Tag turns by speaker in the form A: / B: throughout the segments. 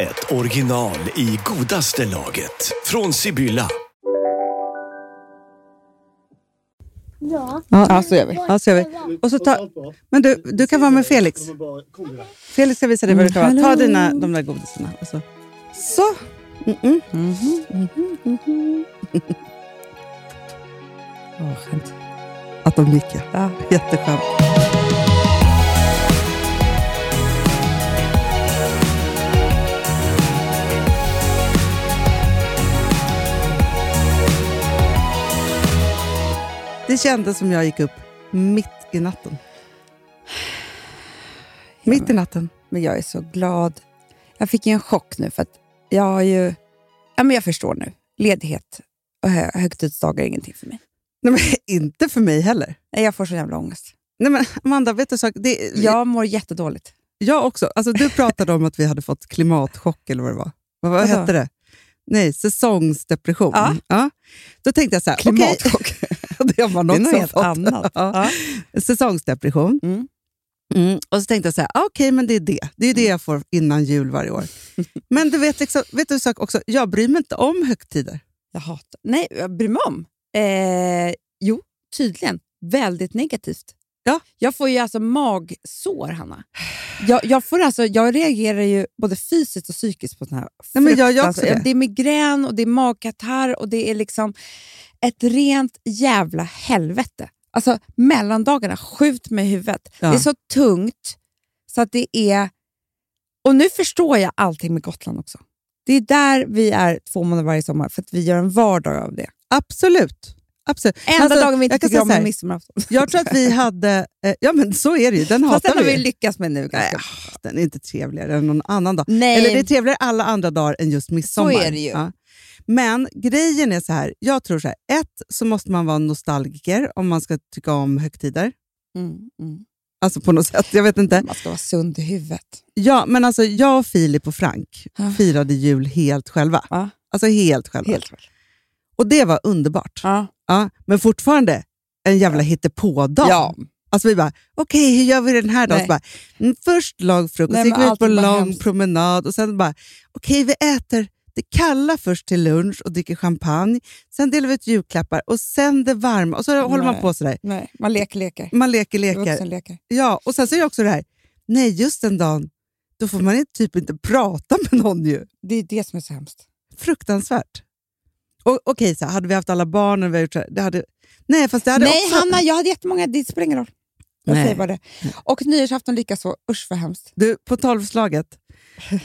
A: ett original i godaste laget. Från Sibylla.
B: Ja.
C: Ja, så gör vi. Ja, så gör vi. Och så ta, men du, du kan vara med Felix. Felix ska visa dig vad du kan vara. Ta dina, de där godisarna. Och så. så. Mm, Mm-mm. Åh, skönt. Att de nickar. Ja. Jätteskönt. Det kändes som jag gick upp mitt i natten. Mitt i natten.
D: Men jag är så glad. Jag fick ju en chock nu för att jag har ju... Ja, men jag förstår nu. Ledighet och hö- högtidsdagar är ingenting för mig.
C: Nej, men, inte för mig heller.
D: Nej, jag får så jävla ångest.
C: Nej, men Amanda, vet du en sak? Det,
D: Jag mår jättedåligt.
C: Jag också. Alltså, du pratade om att vi hade fått klimatchock eller vad det var. Vad, vad
D: Vadå?
C: hette det? Nej, säsongsdepression.
D: Ja.
C: Då tänkte jag så här, okej.
D: Klimatchock.
C: det var
D: Det är
C: något
D: något
C: som
D: helt
C: fått-
D: annat.
C: Ja. Säsongsdepression.
D: Mm.
C: Mm. Och så tänkte jag så här, ah, okej, men det är det. Det är det
D: Mm.
C: jag får innan jul varje år. men du vet, liksom, vet du en sak också? Jag bryr mig inte om högtider.
D: Jag hatar... Nej, jag bryr mig om. Eh, jo, tydligen. Väldigt negativt.
C: Ja.
D: Jag får ju alltså magsår, Hanna. Jag, jag, får alltså, jag reagerar ju både fysiskt och psykiskt på den här
C: Nej, men jag gör
D: fruktansvärda-
C: också det.
D: är migrän och det är magkatarr och det är liksom ett rent jävla helvete. Alltså mellandagarna, skjut mig i huvudet.
C: Ja.
D: Det är så tungt så att det är... Och nu förstår jag allting med Gotland också. Det är där vi är två månader varje sommar för att vi gör en vardag av det.
C: Absolut. Absolut.
D: Enda
C: Alltså,
D: dagen vi inte
C: jag
D: tycker
C: kan säga
D: om
C: så
D: är
C: här,
D: midsommarafton.
C: Jag tror att vi hade... Eh, ja, men så är det ju. Den
D: Fast
C: hatar
D: den har
C: vi
D: vi
C: ju.
D: lyckats med nu.
C: Nej,
D: ganska bra.
C: ah, den är inte trevligare än någon annan dag.
D: Nej.
C: Eller det är typ- trevligare alla andra dagar än just midsommar.
D: Så är det ju.
C: Ja. Men grejen är så här, jag tror så här, ett så måste man vara nostalgiker om man ska tycka om högtider.
D: mm, mm.
C: Alltså på något sätt, jag vet inte.
D: Man ska vara sund i huvudet.
C: Ja, men alltså jag, Filip och Frank
D: Ja.
C: firade jul helt själva.
D: Ja.
C: Alltså helt själva.
D: Helt väl.
C: Och det var underbart.
D: Ja.
C: Ja, men fortfarande en jävla hittepådag.
D: Ja.
C: Alltså vi bara, okej hur gör vi den här dagen?
D: Nej.
C: Så bara, mm, först lag frukost,
D: Nej,
C: sen gick
D: men
C: vi ut på en
D: allting bara
C: lång
D: hemskt.
C: promenad och sen bara, okej vi äter det kalla först till lunch och dricker champagne. Sen delar vi ut julklappar och sen det varma. Och så håller man
D: Nej.
C: på sådär.
D: Nej, man leker lekar.
C: Man leker lekar.
D: Vuxenlekar.
C: Ja, och sen så är det också det här, nej just den dagen, då får man inte- typ inte prata med någon ju.
D: Det är det som är så hemskt.
C: Fruktansvärt. Och, okej, så här, hade vi haft alla barnen och vi hade gjort så här, det hade, nej fast det hade
D: Nej,
C: också...
D: Hanna, jag hade jättemånga. Det spelar ingen roll. Jag
C: Nej.
D: säger bara det. Och nyårsafton likaså. Usch vad hemskt.
C: Du, på tolvslaget,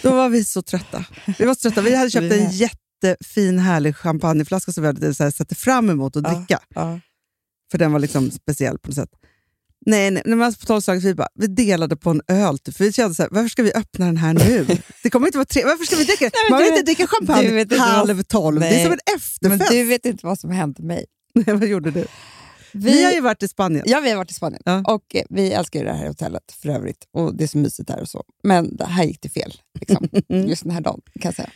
C: då var vi så trötta. Vi var så trötta. Vi hade köpt
D: Vi
C: en
D: med.
C: jättefin härlig champagneflaska som vi hade så här, sett fram emot att
D: Ja.
C: dricka.
D: Ja.
C: För den var liksom speciell på något sätt. Nej, nej, nej men alltså på tolvslaget vi, bara, vi delade på en öl. Typ, för vi kände så här, varför ska vi öppna den här nu? Det kommer inte vara tre. Varför ska vi dricka?
D: men
C: Man
D: du
C: vill inte
D: vet-
C: dricka
D: du vet
C: champagne
D: inte vad-
C: halv tolv. Det är
D: Nej.
C: som en
D: Men
C: efterfest.
D: du vet inte vad som hände mig.
C: Nej, vad gjorde du?
D: Vi,
C: Vi... har ju varit i Spanien.
D: Ja, vi har varit i Spanien.
C: Ja.
D: Och eh, Vi älskar ju det här hotellet för övrigt. Och Det är så mysigt där och så. Men det här gick det fel. Liksom, just den här dagen kan jag säga.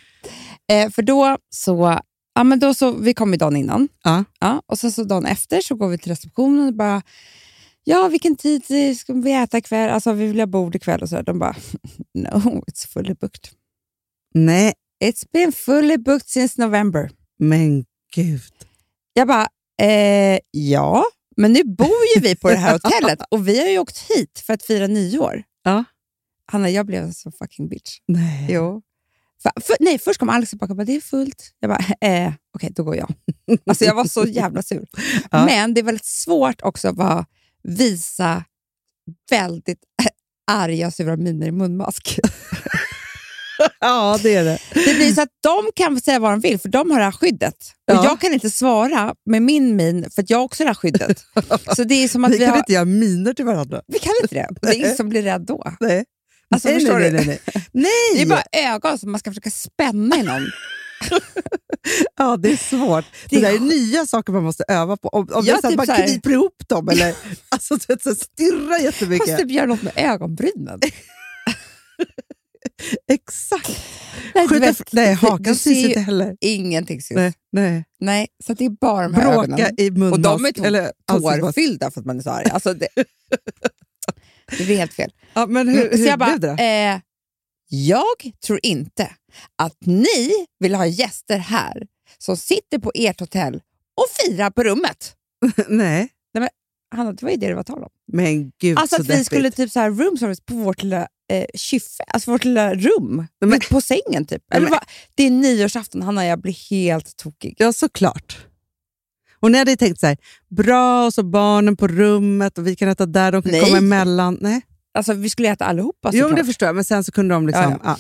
D: Eh, för då så... Ja, men då så vi kom ju dagen innan.
C: Ja.
D: Ja, och sen så dagen efter så går vi till receptionen och bara... Ja, vilken tid eh, ska vi äta ikväll? Alltså, vi vill ha bord ikväll och så. Där. De bara... No, it's fully booked.
C: Nej,
D: It's been fully booked since November.
C: men gud.
D: Jag bara, eh, ja, men nu bor ju vi på det här hotellet och vi har ju åkt hit för att fira nyår.
C: Ja.
D: Hanna, jag blev en så fucking bitch.
C: Nej.
D: Jo. För, för, nej, först kom Alex tillbaka och bara, det är fullt. Jag bara, eh, okej, då går jag. Alltså jag var så jävla sur.
C: Ja.
D: Men det är väldigt svårt också att vara, visa väldigt eh, arga och sura miner i munmask.
C: Ja, det är det.
D: Det blir så att de kan säga vad de vill, för de har det här skyddet.
C: Ja.
D: Och jag kan inte svara med min min, för att jag har också det här skyddet. Så det är som att
C: Vi
D: vi,
C: kan
D: har,
C: inte göra miner till varandra.
D: vi kan inte det. Det är ingen som blir rädd då.
C: Nej.
D: Alltså,
C: nej,
D: förstår
C: nej,
D: du?
C: nej, nej, nej.
D: Det
C: nej.
D: är bara ögon som man ska försöka spänna i någon.
C: Ja, det är svårt. Det,
D: Det-
C: där är nya saker man måste öva på. Om, om
D: Ja,
C: det är så att
D: typ
C: man
D: så här.
C: kniper ihop dem eller alltså, du vet, så här, stirrar
D: Fast
C: jättemycket.
D: typ göra något med ögonbrynen.
C: Exakt.
D: Nej, du
C: Skjuta,
D: vet,
C: fr- nej,
D: du- du
C: hakan
D: ser
C: syns
D: ju-
C: inte heller.
D: Ingenting syns. Nej.
C: Nej, nej.
D: så det är bara de här
C: Bråka
D: ögonen.
C: i munmask.
D: Och de är typ
C: eller ansiktsmask.
D: Tårfyllda för att man är så arg. Alltså, det, det är helt fel.
C: Ja, men hur,
D: så
C: hur
D: jag bara,
C: blev det då?
D: eh, jag tror inte att ni vill ha gäster här som sitter på ert hotell och firar på rummet.
C: Nej,
D: Hanna, det var ju det det var tal om.
C: men gud
D: Alltså
C: så
D: att vi
C: deppigt.
D: skulle typ så här room service på vårt lilla eh, kyffe, alltså vårt lilla rum.
C: men-
D: på sängen typ. Eller
C: men-
D: vad? Det är nyårsafton, Hanna, jag blir helt tokig.
C: Ja, såklart. Och ni hade ju tänkt så här, bra, och så barnen på rummet och vi kan äta där, de kan
D: Nej.
C: komma emellan. Nej.
D: Alltså vi skulle äta allihopa
C: Jo, men det
D: såklart.
C: förstår jag, men sen så kunde de liksom...
D: Ja,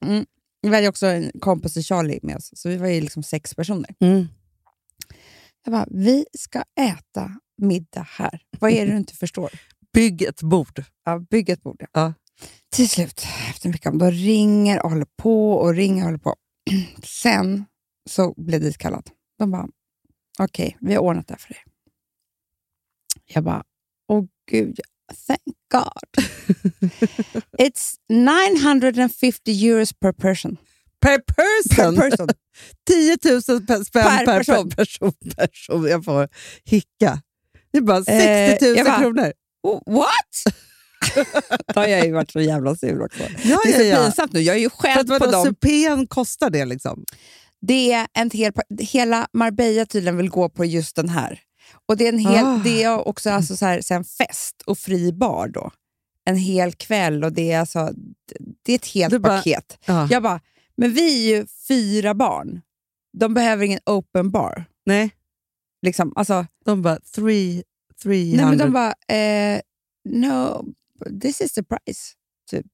C: Ja,
D: Vi hade ju också en kompis i Charlie med oss, så vi var ju liksom sex personer.
C: Mm.
D: Jag bara, vi ska äta middag här. Vad är det du inte förstår?
C: Bygg ett bord.
D: Ja, bygg ett bord.
C: Ja.
D: Till slut, efter mycket om, då ringer och håller på och ringer och håller på. Sen så blev dit kallad. De bara, okej, vi har ordnat det här för dig. Jag bara, åh gud, thank God. It's 950 euros per person.
C: Per person!
D: Per person.
C: 10 000 spänn per, per person. person. person. Jag får hicka. Det är
D: Eh,
C: bara 60 000
D: jag bara-
C: kronor.
D: Oh, what? Då har jag ju varit så jävla sur också.
C: Ja,
D: Det är så pinsamt nu, jag är ju
C: För att
D: själv på
C: vadå,
D: dem.
C: supén kostar det liksom?
D: Det är en hel, hela Marbella tydligen vill gå på just den här. Och Det är, en hel,
C: Ah.
D: det är också alltså så här, så här en fest och fri bar då. En hel kväll och det är, alltså, det är ett helt
C: Du bara- Ah.
D: paket.
C: Ja.
D: Jag bara, men vi är ju fyra barn. De behöver ingen open bar.
C: Nej,
D: Liksom. Alltså,
C: de bara three, 300.
D: nej, men de bara, eh, no, this is the price. Typ.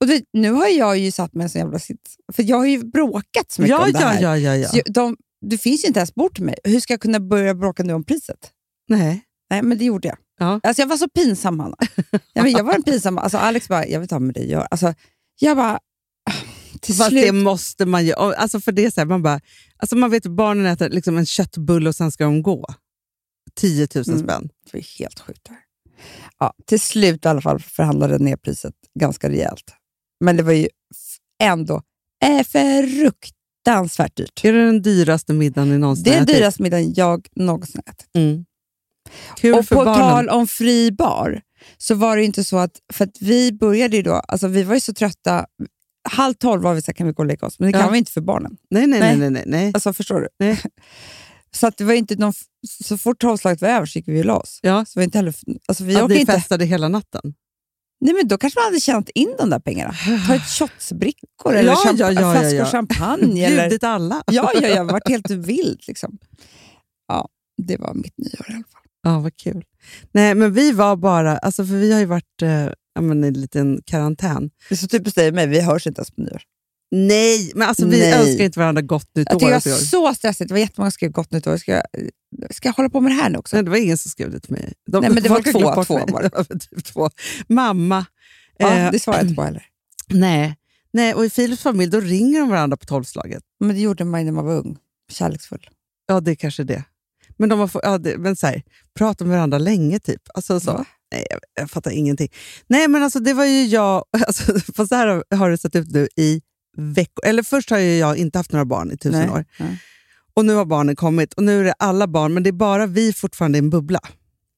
D: Och det, nu har jag ju satt mig i en sån jävla sits. För jag har ju bråkat så mycket
C: ja,
D: om det här.
C: ja, ja, ja, ja.
D: Så jag- de, det finns ju inte ens bort till mig. Hur ska jag kunna börja bråka nu om priset?
C: Nej.
D: Nej, men det gjorde jag.
C: Ja.
D: Alltså, jag var så pinsam, Hanna. Nej, men jag var en pinsam... Alltså, Alex bara, jag vet inte vad med dig att göra. alltså, Jag bara... ah, Till
C: Fast det
D: slut...
C: måste man ju. och- Alltså för det är så här, man bara, alltså man vet att barnen äter liksom en köttbulle och sen ska de gå. 10 000
D: Mm.
C: spänn.
D: Det var helt sjukt. det här. Ja, till slut i alla fall förhandlade jag ner priset ganska rejält. Men det var ju f- ändå eh, fruktansvärt dyrt.
C: Är det den dyraste middagen ni någonsin
D: Det är den
C: ätit?
D: dyraste middagen jag någonsin ätit.
C: Mm. Kul
D: och
C: för
D: på
C: barnen.
D: tal om fri bar, så var det ju inte så att, för att vi började ju då, alltså vi var ju så trötta, halv tolv var vi så här, kan vi gå och lägga oss, men det
C: Ja.
D: kan vi inte för barnen.
C: Nej, nej, nej.
D: Nej.
C: nej, nej, nej.
D: Alltså förstår du?
C: Nej.
D: Så att det var ju inte någon, så fort tolvslaget var över så gick vi och la oss.
C: Ja.
D: Så vi inte heller, alltså vi
C: att
D: orkar
C: ni
D: inte,
C: festade hela natten.
D: nej men då kanske man hade tjänat in de där pengarna. Ta ett shotsbrickor eller
C: Ja,
D: champa-
C: ja, ja, ja,
D: flaskor
C: ja.
D: champagne. eller,
C: Bjudit alla.
D: ja, ja, jag har varit helt vild liksom. Ja, det var mitt nyår i alla fall.
C: Ja, vad kul. Nej, men vi var bara, alltså för vi har ju varit eh, ja, men i en liten karantän.
D: Det är så typiskt dig och mig, vi hörs inte ens på nyår.
C: Nej, men alltså vi
D: Nej.
C: önskar inte varandra gott nytt
D: Jag
C: år.
D: tycker
C: alltså,
D: det var så
C: jag-
D: stressigt. Det var jättemånga som skrev gott nytt år. Ska jag, ska jag hålla på med det här nu också?
C: Nej, det var ingen som skrev det till mig. De,
D: Nej, men det
C: folk
D: var
C: har glömt
D: två-
C: bort
D: två
C: mig.
D: var
C: det.
D: det.
C: var typ två. Mamma.
D: ja,
C: eh,
D: det svarade jag inte på heller.
C: nej. nej, och i Filips familj då ringer de varandra på tolvslaget.
D: Men det gjorde man ju när man var ung. Kärleksfull.
C: Ja, det är kanske är det. Men de har få, ja, det, men så här, pratat med varandra länge typ. Alltså, så.
D: Va?
C: Nej, jag, jag fattar ingenting. Nej, men alltså det var ju jag, alltså, fast så här har- har det sett ut nu i veckor. Eller först har ju jag inte haft några barn i tusen
D: Nej,
C: år.
D: nej.
C: Och nu har barnen kommit och nu är det alla barn, men det är bara vi fortfarande i en bubbla.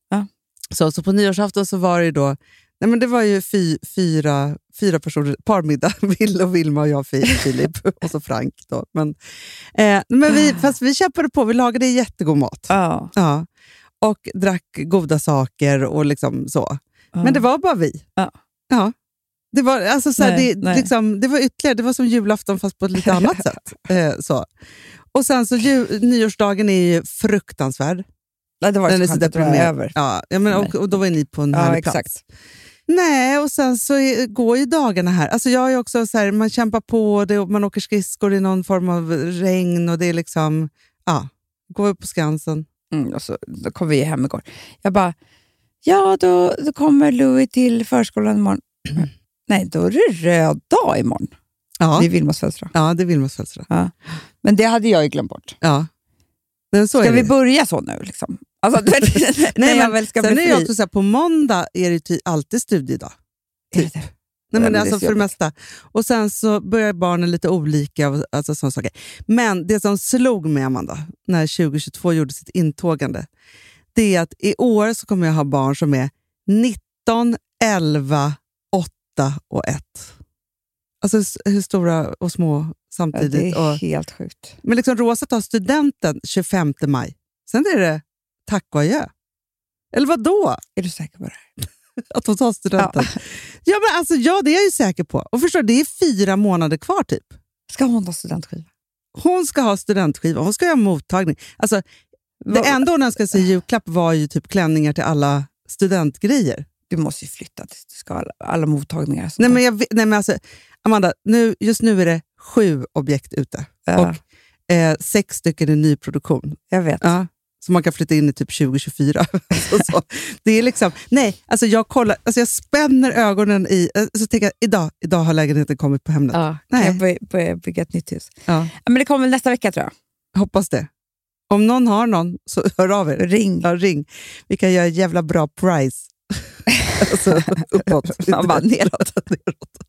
D: Ja.
C: Så, så på nyårsafton så var det ju då, nej men det var ju fy, fyra, fyra personer, parmiddag, Ville och Vilma och jag, Fi- Filip och så Frank. Då. Men, eh, men vi,
D: Ah.
C: fast vi kämpade på, vi lagade jättegod mat.
D: Ja.
C: Ja. Och drack goda saker och liksom så.
D: Ah.
C: Men det var bara vi.
D: Ja.
C: Ja. Det var, alltså så
D: Nej,
C: det,
D: nej.
C: liksom, det var ytterligare, det var som julafton fast på ett lite annat sätt. Eh, så. Och sen så ju, nyårsdagen är ju fruktansvärd.
D: Nej, det var
C: Den
D: så
C: är så
D: skönt att det var
C: deprimerande.
D: över.
C: Ja, ja, men, och, och då var ni på en
D: Ja,
C: härlig plats.
D: exakt.
C: Nej, och sen så är, går ju dagarna här. Alltså jag är också så man kämpar på, det, och man åker skridskor i någon form av regn och det är liksom, ja, går upp på Skansen.
D: Mm, och så, då kom vi hem igår. Jag bara, ja då, då kommer Louis till förskolan imorgon. Nej, då är det röd dag imorgon.
C: Ja,
D: Det är Vilmas födelsedag.
C: ja det är Vilmas födelsedag.
D: Men det hade jag ju glömt bort.
C: Ja. Men så
D: Ska
C: är
D: vi
C: det.
D: börja så nu? Liksom? Alltså, du vet, när jag
C: men
D: väl ska
C: Sen
D: bli
C: är jag
D: fri.
C: också så här, på måndag är det ty- alltid studiedag.
D: Är det det?
C: Nej,
D: men
C: men
D: det är
C: alltså
D: så
C: för det
D: jobbigt.
C: mesta. Och sen så börjar barnen lite olika. Och, alltså såna saker. Men det som slog mig, Amanda, när 2022 gjorde sitt intågande, det är att i år så kommer jag ha barn som är 19, 11, 8 och 1. Alltså s- hur stora och små
D: Ja, det
C: samtidigt.
D: är
C: Och,
D: helt sjukt.
C: men liksom Rosa tar studenten 25 maj. Sen är det tack och adjö. Eller vad då?
D: Är du säker på det?
C: Att hon tar studenten. Ja. men alltså, ja, det är jag ju säker på. Och förstår, du, det är fyra månader kvar typ.
D: Ska hon ta studentskiva?
C: Hon ska ha studentskiva, hon ska göra mottagning. Alltså, det
D: Vad-
C: enda hon önskade sig i julklapp var ju typ klänningar till alla studentgrejer.
D: Du måste ju flytta tills du ska ha alla, alla mottagningar. och sånt
C: Nej,
D: där.
C: men jag, vet- nej, men alltså, Amanda, nu, just nu är det sju objekt ute.
D: Ja,
C: Eh, sex stycken i nyproduktion.
D: jag vet.
C: Ja. Som man kan flytta in i typ 2024. Alltså, så. Det är liksom, nej, alltså jag kollar, alltså jag spänner ögonen i... eh, Så tänker jag, idag, idag har lägenheten kommit på Hemnet.
E: Ja.
D: Kan
C: Nej,
D: jag börja, börja bygga ett nytt hus?
C: Ja.
D: Ja, Men det kommer väl nästa vecka tror jag.
C: hoppas det. Om någon har någon, så hör av er.
D: Ring.
C: Ja, ring. Vi kan göra en jävla bra price. alltså uppåt.
D: Man bara,
C: neråt. neråt.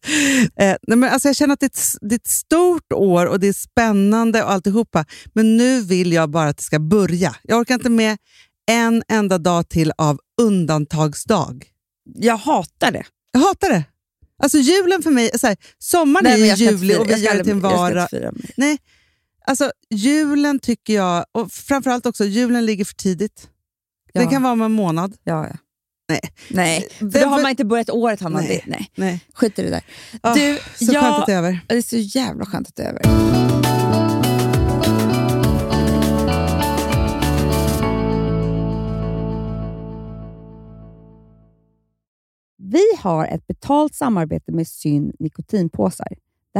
C: Eh, nej, men alltså jag känner att det är, ett, s- det är ett stort år och det är spännande och alltihopa. Men nu vill jag bara att det ska börja. Jag orkar inte med en enda dag till av undantagsdag.
D: Jag hatar det.
C: Jag hatar det. Alltså julen för mig, är så här, sommaren är ju
D: jag ska inte
C: juli
D: fira-
C: och vi gör det till en
D: jag ska
C: vara.
D: inte fira mig.
C: Nej, alltså julen tycker jag, och framförallt också, julen ligger för tidigt.
D: Ja.
C: Den kan vara om en månad.
D: Ja, ja.
C: Nej.
D: Nej. För
C: Det-
D: då har man inte börjat året, Hanna.
C: Nej.
D: Nej. Det, nej.
C: Nej.
D: Skit i det där.
C: Ah,
D: du,
C: Så
D: jag-
C: skönt att det är över.
D: Ja, Det är så jävla skönt att det är över. Vi har ett betalt samarbete med Syn nikotinpåsar. Det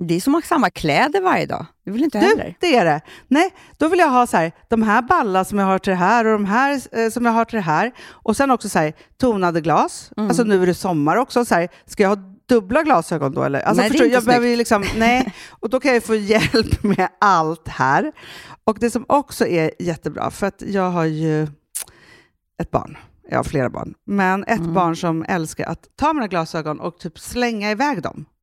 D: Det är som att ha samma kläder varje dag. Det vill inte jag
C: Du,
D: heller.
C: det är det. Nej, då vill jag ha så här, de här balla som jag har till det här och de här eh, som jag har till det här. Och sen också så här, tonade glas.
D: Mm.
C: Alltså nu är det sommar också. Så här, ska jag ha dubbla glasögon då eller? Alltså,
D: Nej, det är
C: förstår, du,
D: inte
C: jag behöver ju liksom, nej. Och då kan jag ju få hjälp med allt här. Och det som också är jättebra, för att jag har ju ett barn. Jag har flera barn. Men ett
D: Mm.
C: barn som älskar att ta mina glasögon och typ slänga iväg dem.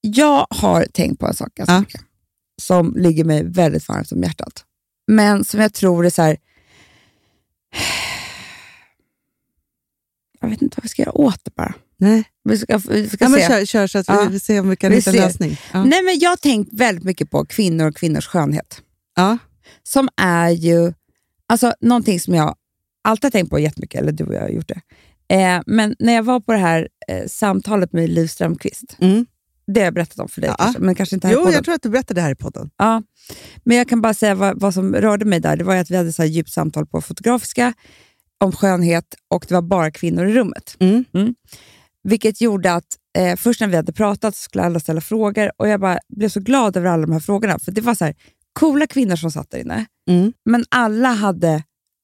D: Jag har tänkt på en sak ganska
C: Ja.
D: mycket, som ligger mig väldigt varmt om hjärtat. Men som jag tror är så här... Jag vet inte vad vi ska göra åt det bara.
C: Nej,
D: Vi ska, vi ska
C: ja, men
D: se.
C: kör, kör så att
D: Ja.
C: vi, vi ser om vi kan
D: Vi
C: hitta en
D: ser.
C: lösning. Ja.
D: Nej, men jag har tänkt väldigt mycket på kvinnor och kvinnors skönhet.
C: Ja.
D: Som är ju alltså, någonting som jag alltid har tänkt på jättemycket, eller du och jag har gjort det. Eh, men när jag var på det här eh, samtalet med Liv Strömquist,
C: Mm.
D: det har jag berättat om för dig,
C: Ja.
D: kanske, men kanske inte här i
C: Jo,
D: podden.
C: jag tror att du berättade det här i podden.
D: Ja, men jag kan bara säga vad, vad som rörde mig där. Det var ju att vi hade så här djupt samtal på Fotografiska om skönhet och det var bara kvinnor i rummet.
C: Mm.
D: Vilket gjorde att eh, först när vi hade pratat så skulle alla ställa frågor och jag bara blev så glad över alla de här frågorna. För det var så här, coola kvinnor som satt där inne,
C: Mm.
D: men alla hade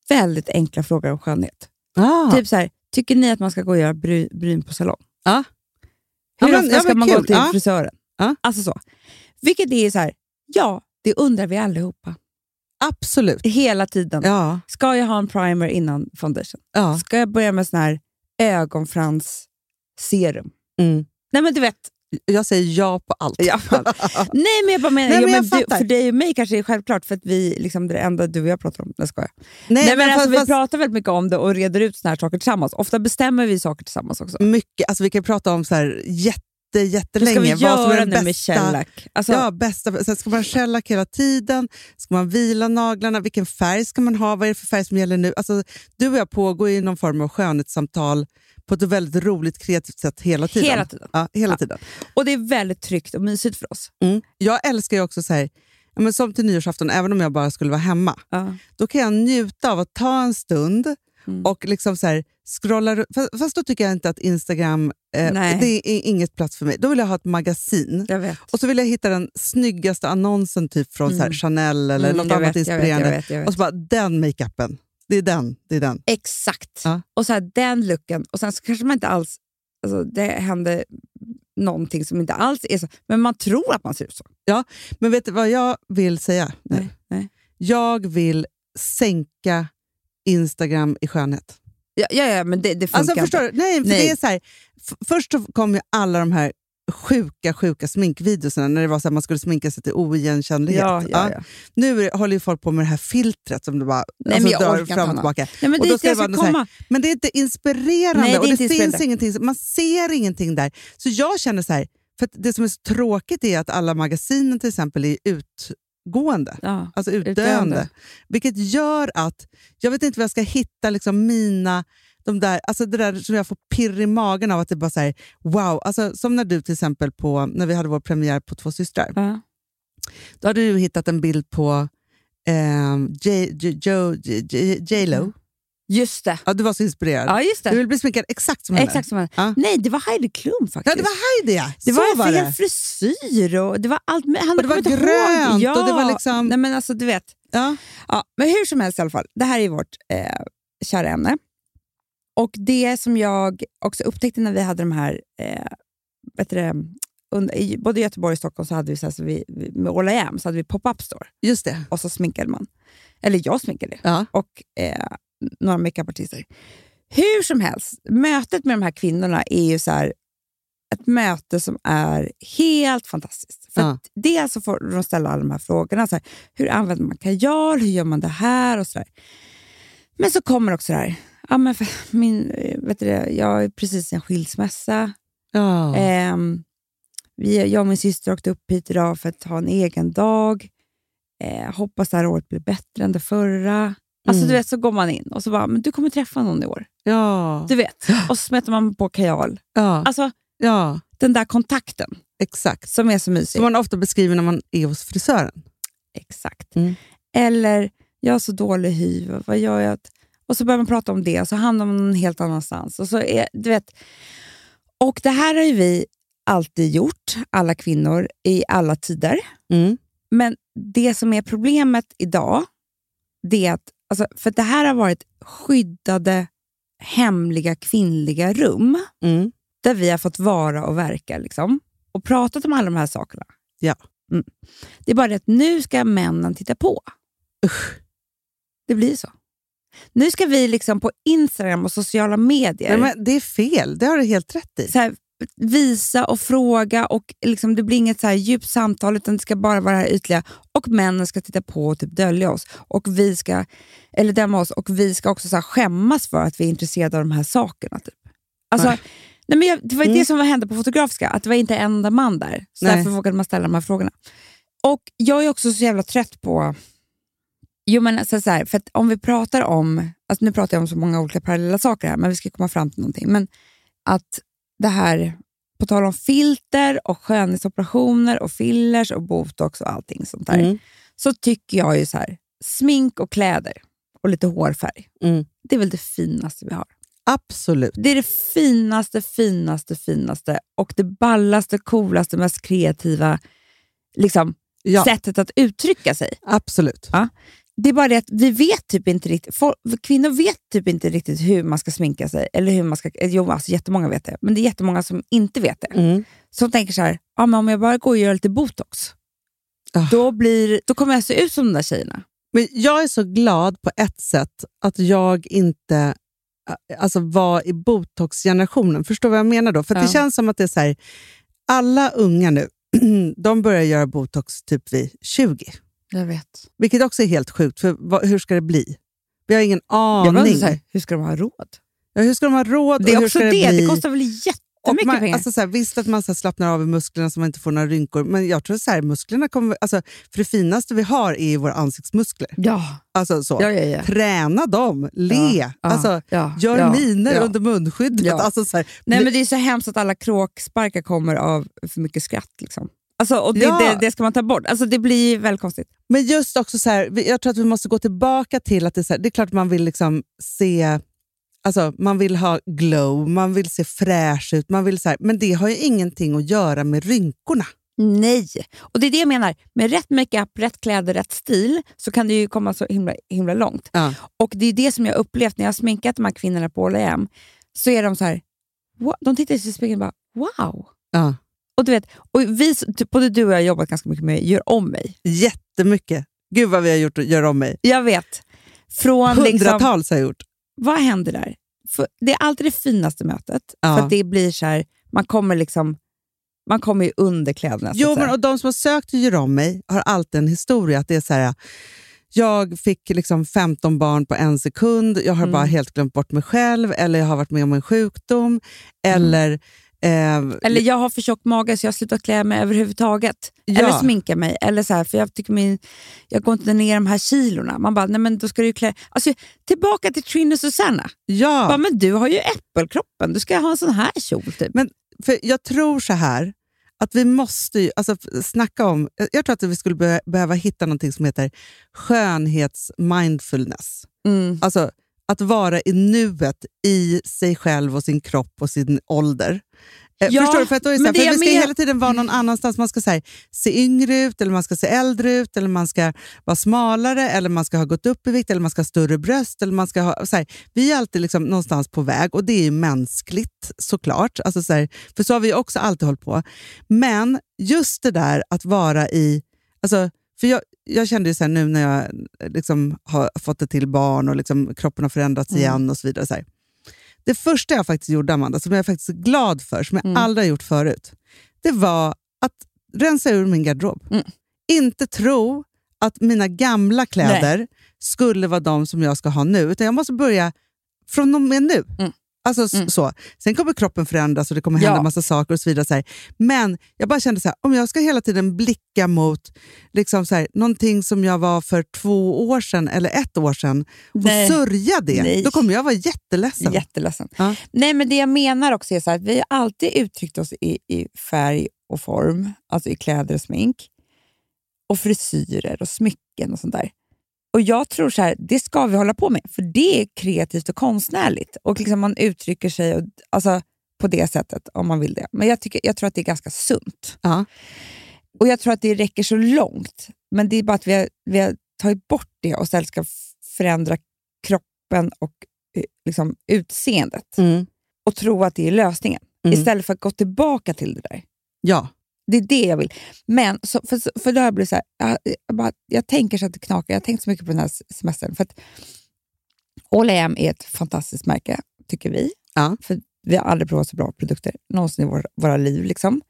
D: väldigt enkla frågor om skönhet.
C: Ah.
D: Typ så här, tycker ni att man ska gå och göra bry, bryn på salong?
C: Ja.
D: Hur
C: Ja, men-
D: ofta
C: ja,
D: ska
C: men
D: man gå
C: kul.
D: till
C: Ja.
D: frisören?
C: Ja.
D: Alltså så. Vilket det är så här, ja, det undrar vi allihopa.
C: Absolut.
D: Hela tiden.
C: Ja.
D: Ska jag ha en primer innan foundation?
C: ja.
D: Ska jag börja med sån här ögonfransserum?
C: Mm.
D: Nej men du vet,
C: Jag säger ja på allt.
D: Ja, fan. Nej, men jag bara menar,
C: Nej,
D: ja,
C: men
D: men
C: jag
D: du,
C: fattar.
D: för dig och mig kanske är det självklart, för att vi liksom, det är det enda du och jag pratar om. Nej, skojar. Nej, men
C: fast-
D: alltså, vi
C: fast-
D: pratar väldigt mycket om det och reder ut såna här saker tillsammans. Ofta bestämmer vi saker tillsammans också.
C: mycket. Alltså vi kan prata om så här jätte,
D: Hur ska vi
C: jättelänge. vad som är
D: göra
C: den
D: nu med
C: bästa-
D: Shellac? Alltså,
C: Ja, bästa. Sen ska man shellack hela tiden? Ska man vila naglarna? Vilken färg ska man ha? Vad är det för färg som gäller nu? Alltså, du och jag pågår ju någon form av skönhetssamtal på ett väldigt roligt, kreativt sätt hela tiden.
D: Hela tiden.
C: Ja, hela
D: Ja.
C: tiden.
D: Och det är väldigt tryggt och mysigt för oss.
C: Mm. Jag älskar ju också så här, ja, men som till nyårsafton, även om jag bara skulle vara hemma,
D: Ja.
C: då kan jag njuta av att ta en stund
D: Mm.
C: och liksom så här, scrolla ru- fast, fast då tycker jag inte att Instagram, eh,
D: Nej.
C: det är inget plats för mig. Då vill jag ha ett magasin.
D: Jag vet.
C: Och så vill jag hitta den snyggaste annonsen typ från så här
D: Mm.
C: Chanel eller
D: Mm,
C: något
D: jag
C: annat
D: vet, jag vet,
C: inspirerande.
D: jag vet, jag vet.
C: Och så bara, den makeupen. Det är den. Det är den.
D: Exakt.
C: Ja.
D: Och så här, den looken. Och sen så kanske man inte alls... Alltså, det händer någonting som inte alls är så. Men man tror att man ser ut så.
C: Men vet du vad jag vill säga nu?
D: Nej, nej.
C: Jag vill sänka Instagram i skönhet.
D: Ja, ja, ja men det, det funkar
C: Alltså
D: inte.
C: förstår du? Nej, för
D: Nej.
C: Det är så här, f- först så kom ju alla de här sjuka, sjuka sminkvideorna när det var så här, man skulle sminka sig till oigenkännlighet.
D: Ja, ja,
C: Ja.
D: ja.
C: Nu är- håller ju folk på med det här filtret som du bara
D: Nej, men
C: alltså,
D: jag orkar
C: drar
D: inte,
C: fram och
D: Hanna.
C: tillbaka.
D: Nej, men
C: Och
D: och
C: då
D: dit
C: ska det
D: jag
C: vara
D: ska
C: någon så här-
D: komma.
C: Men det är inte inspirerande
D: Nej, det är
C: och det
D: inte
C: finns
D: inspirerande.
C: ingenting, som- man ser ingenting där. Så jag känner så här, för att det som är så tråkigt är att alla magasinen till exempel är utgående,
D: Ja.
C: alltså utdöende.
D: Utdöende.
C: Vilket gör att, jag vet inte var jag ska hitta liksom mina, de där, alltså det där som jag får pirr i magen av att det bara så här, wow. Alltså, som när du till exempel på, när vi hade vår premiär på Två systrar,
D: Ja.
C: då hade du hittat en bild på ehm, J, J, Joe- J, J, J, Lo.
D: Just det.
C: Ja, du var så inspirerad.
D: Ja, just
C: Du
D: det.
C: vill bli sminkad exakt som henne.
D: Exakt som henne.
C: Ja.
D: Nej, det var Heidi Klum
C: Ja,
D: faktiskt.
C: det var Heidi ja.
D: Det
C: så
D: var,
C: var
D: fel
C: det.
D: frisyr och det var allt. men Han
C: Och det var
D: kommer inte
C: grönt
D: ihåg. ja.
C: och det var liksom-
D: Nej, men alltså, du vet.
C: Ja.
D: Ja, men hur som helst i alla fall. Det här är vårt eh, kära ämne. Och det som jag också upptäckte när vi hade de här, eh, vet du, det, under, i både Göteborg och Stockholm så hade vi, så här, så vi vi- med All I Am, så hade vi pop-up store
C: Just det.
D: och så sminkade man. Eller jag sminkade
C: Ja.
D: och eh, några makeupartister. Hur som helst, mötet med de här kvinnorna är ju så här, ett möte som är helt fantastiskt. För
C: Ja.
D: att dels så får de ställa alla de här frågorna. Så här, hur använder man kajal? Hur gör man det här? Och så där. Men så kommer också det här. Ja, men för min, eh, vet du det, jag är precis i en skilsmässa.
C: Ja.
D: Ehm, vi, jag och min syster åkte upp hit idag för att ha en egen dag. Eh, hoppas det här året blir bättre än det förra. Alltså
C: Mm.
D: du vet, så går man in och så bara, men du kommer träffa någon i år.
C: ja.
D: Du vet. Och så smetar man på kajal.
C: ja.
D: Alltså
C: ja.
D: den där kontakten
C: Exakt.
D: som är så
C: Som
D: mysig.
C: man ofta beskriver när man är hos frisören.
D: Exakt.
C: Mm.
D: Eller, jag har så dålig hy, vad- vad gör jag? Och så börjar man prata om det och så hamnar man någon helt annanstans. Och, så är, du vet. och det här har ju vi alltid gjort, alla kvinnor, i alla tider.
C: Mm.
D: Men det som är problemet idag, det är att, alltså, för det här har varit skyddade, hemliga kvinnliga rum
C: Mm.
D: där vi har fått vara och verka liksom, och pratat om alla de här sakerna.
C: Ja.
D: Mm. Det är bara det att nu ska männen titta på.
C: Usch.
D: Det blir så. Nu ska vi liksom på Instagram och sociala medier
C: Nej, men det är fel. Det har du helt rätt i.
D: så här, visa och fråga och liksom, det blir inget så här djupt samtal utan det ska bara vara det här ytliga. Och männen ska titta på och typ dölja oss. Och vi ska, eller döma oss och vi ska också så här skämmas för att vi är intresserade av de här sakerna. Typ. Alltså,
C: Nej.
D: nej. men jag, det var ju
C: Mm.
D: det som hände på Fotografiska, att det var inte en enda man där. Så
C: Nej.
D: därför vågade man ställa de här frågorna. Och jag är också så jävla trött på... Jo, men alltså så här, för att om vi pratar om... Alltså nu pratar jag om så många olika parallella saker här, men vi ska komma fram till någonting. Men att det här, på tal om filter och skönhetsoperationer och fillers och botox och allting sånt där,
C: Mm.
D: så tycker jag ju så här, smink och kläder och lite hårfärg,
C: Mm.
D: det är väl det finaste vi har.
C: Absolut.
D: Det är det finaste, finaste, finaste och det ballaste, coolaste, mest kreativa liksom,
C: Ja,
D: sättet att uttrycka sig.
C: absolut.
D: Ja. Det är bara det att vi vet typ inte riktigt, folk, kvinnor vet typ inte riktigt hur man ska sminka sig. Eller hur man ska, jo, alltså jättemånga vet det, men det är jättemånga som inte vet det.
C: Mm.
D: Som tänker så här, ah, men om jag bara går och gör lite botox,
C: Ah.
D: då, blir, då kommer jag se ut som de där tjejerna.
C: Men jag är så glad på ett sätt att jag inte äh, alltså, var i botoxgenerationen. Förstår vad jag menar då? För att
D: Ja.
C: det känns som att det är så här, alla unga nu, de börjar göra botox typ vid 20.
D: Jag vet.
C: Vilket också är helt sjukt, för vad, hur ska det bli? Vi har ingen
D: Jag bara
C: aning.
D: undrar så här, hur ska de ha råd?
C: Ja, hur ska de ha råd?
D: Det
C: och
D: är
C: hur
D: också
C: ska
D: det,
C: det, bli?
D: det kostar väl
C: Och
D: jättemycket
C: man,
D: pengar?
C: alltså så här, visst att man så här slappnar av i musklerna så man inte får några rynkor, men jag tror så här, musklerna kommer... Alltså, för det finaste vi har är ju våra ansiktsmuskler.
D: ja,
C: Alltså så.
D: ja, ja, ja.
C: Träna dem, le,
D: ja,
C: alltså,
D: ja,
C: gör
D: ja,
C: miner
D: ja.
C: under munskyddet.
D: Ja.
C: Alltså, så här,
D: Nej,
C: bli-
D: men det är så hemskt att alla kråksparkar kommer av för mycket skratt. Liksom. Alltså, och det,
C: Ja.
D: det, det ska man ta bort. Alltså, det blir ju väldigt konstigt.
C: Men just också så här, vi- jag tror att vi måste gå tillbaka till att det är, så här, det är klart man vill liksom se, alltså man vill ha glow, man vill se fräsch ut, man vill så här, men det har ju ingenting att göra med rynkorna.
D: Nej! Och det är det jag menar. Med rätt makeup, rätt kläder, rätt stil så kan det ju komma så himla, himla långt.
C: Ja.
D: Och det är det som jag upplevt när jag har sminkat de här kvinnorna på All I Am. Så är de så här, "Wow." de tittar i sig i spegeln och bara wow.
C: Ja.
D: Och du vet, och vi, typ, både du och jag har jobbat ganska mycket med Gör om mig.
C: Jättemycket. Gud vad vi har gjort och gör om mig.
D: Jag vet. Från liksom,
C: Hundratals har jag gjort.
D: vad händer där? För det är alltid det finaste mötet.
C: Ja.
D: För att det blir så här, man kommer liksom man kommer ju under kläderna. så
C: Jo,
D: att
C: men
D: säga.
C: och de som har sökt och gör om mig har alltid en historia. Att det är så här, jag fick liksom 15 barn på en sekund, jag har
D: Mm.
C: bara helt glömt bort mig själv, eller jag har varit med om en sjukdom, eller... Eh,
D: Eller jag har för tjock mage så jag har slutat klä mig överhuvudtaget.
C: Ja.
D: Eller sminka mig. Eller så här, för jag tycker min, jag går inte ner de här kilorna. Man bara, nej men då ska du ju klä... Alltså, tillbaka till Trin och Susanna.
C: ja.
D: Bara, men du har ju äppelkroppen, du ska ha en sån här kjol typ.
C: Men för jag tror så här, att vi måste ju, alltså, snacka om... Jag tror att vi skulle be, behöva hitta någonting som heter skönhets-mindfulness.
D: Mm.
C: Alltså att vara i nuet i sig själv och sin kropp och sin ålder. Eh,
D: Ja,
C: förstår du? För, att då är det så
D: men
C: här,
D: det
C: för vi
D: jag
C: ska
D: men-
C: hela tiden vara någon annanstans. Man ska så här, se yngre ut, eller man ska se äldre ut, eller man ska vara smalare, eller man ska ha gått upp i vikt, eller man ska ha större bröst. Eller man ska ha, så här, vi är alltid liksom någonstans på väg och det är ju mänskligt såklart. Alltså så här, för så har vi ju också alltid hållit på. Men just det där att vara i... Alltså, för jag, jag kände ju så här nu när jag eh, liksom har fått ett till barn och liksom kroppen har förändrats igen och så vidare. Så här. Det första jag faktiskt gjorde, Amanda, som jag är faktiskt glad för, som jag aldrig har gjort förut, det var att rensa ur min garderob.
D: Mm.
C: Inte tro att mina gamla kläder skulle vara de som jag ska ha nu, utan jag måste börja från och med nu.
D: Mm.
C: Alltså s-
D: Mm.
C: så. Sen kommer kroppen förändras och det kommer hända
D: Ja.
C: massa saker och så vidare. Så här. Men jag bara kände så här, om jag ska hela tiden blicka mot liksom så här, någonting som jag var för två år sedan eller ett år sedan och
D: Nej.
C: sörja det,
D: Nej.
C: då kommer jag vara jätteledsen.
D: Jätteledsen.
C: Ja.
D: Nej, men det jag menar också är så här, att vi har alltid uttryckt oss i, i färg och form, alltså i kläder och smink, och frisyrer och smycken och sånt där. Och jag tror så här, det ska vi hålla på med, för det är kreativt och konstnärligt. Och liksom man uttrycker sig och, alltså, på det sättet om man vill det. Men jag, tycker, jag tror att det är ganska sunt.
C: Ja.
D: Och jag tror att det räcker så långt. Men det är bara att vi har, vi har tagit bort det och istället ska f- förändra kroppen och eh, liksom, utseendet
C: Mm.
D: och tro att det är lösningen.
C: Mm.
D: Istället för att gå tillbaka till det där.
C: Ja.
D: Det är det jag vill. Men så, för, för då har jag blivit så här, jag, jag, bara, jag tänker så att det knakar. Jag har tänkt så mycket på den här s- semestern. För att All I Am är ett fantastiskt märke, tycker vi.
C: Ja.
D: För vi har aldrig provat så bra produkter någonsin i vår, våra liv. Liksom.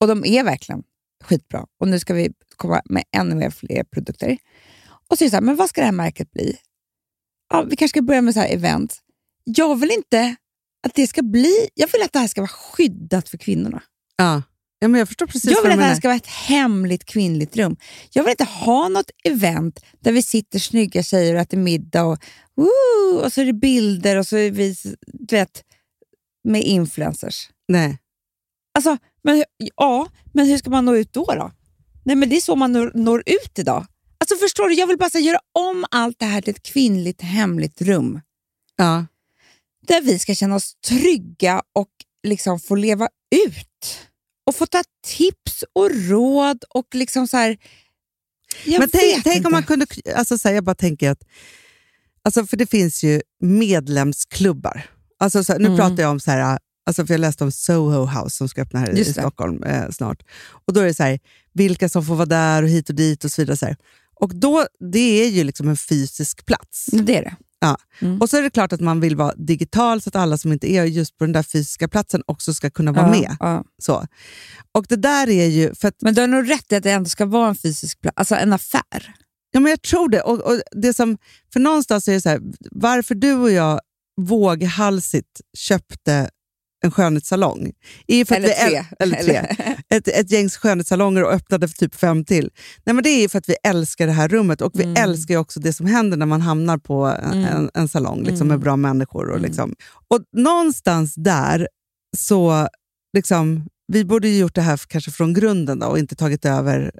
D: Och de är verkligen skitbra. Och nu ska vi komma med ännu mer fler produkter. Och så är det så här, men vad ska det här märket bli? Ja, vi kanske ska börja med så här event. Jag vill inte att det ska bli... Jag vill att det här ska vara skyddat för kvinnorna.
C: Ja. ja men jag förstår precis
D: Jag
C: vad
D: vill
C: du
D: att det här
C: menar.
D: ska vara ett hemligt kvinnligt rum. Jag vill inte ha något event där vi sitter snygga tjejer och äter middag och, woo, och så är det bilder och så är vi du vet, med influencers.
C: Nej.
D: Alltså, men, hur- ja, men hur ska man nå ut då? då? Nej, men Det är så man når, når ut idag. Alltså förstår du, Jag vill bara så här, göra om allt det här till ett kvinnligt hemligt rum
C: Ja.
D: där vi ska känna oss trygga och liksom få leva ut. Och få ta tips och råd och liksom så här... Jag
C: Men
D: vet
C: tänk, tänk
D: inte.
C: om man kunde... Alltså så här, jag bara tänker att... Alltså för det finns ju medlemsklubbar. Alltså så här, nu
D: Mm.
C: pratar jag om så här... Alltså för jag läste om Soho House som ska öppna här i- i
D: Just det.
C: Stockholm eh, snart. Och då är det så här, vilka som får vara där och hit och dit och så vidare. Så här. Och då, det är ju liksom en fysisk plats.
D: Det är det. Mm.
C: Och så är det klart att man vill vara digital så att alla som inte är just på den där fysiska platsen också ska kunna vara
D: Ja,
C: med.
D: ja.
C: Så. Och det där är ju... För att
D: Men du har nog rätt i att det ändå ska vara en fysisk plats, alltså en affär.
C: Ja, men jag tror det. Och, och det som, för någonstans är det så här, varför du och jag våghalsigt köpte en skönhetssalong. Är ju för att
D: Eller
C: vi äl-
D: tre.
C: Eller tre. Ett, ett gängs skönhetssalonger och öppnade för typ fem till. Nej, men det är ju för att vi älskar det här rummet och vi
D: Mm.
C: älskar ju också det som händer när man hamnar på en, en, en salong liksom,
D: Mm.
C: med bra människor. Och, liksom. och någonstans där så... liksom vi borde ju gjort det här för- kanske från grunden då, och inte tagit över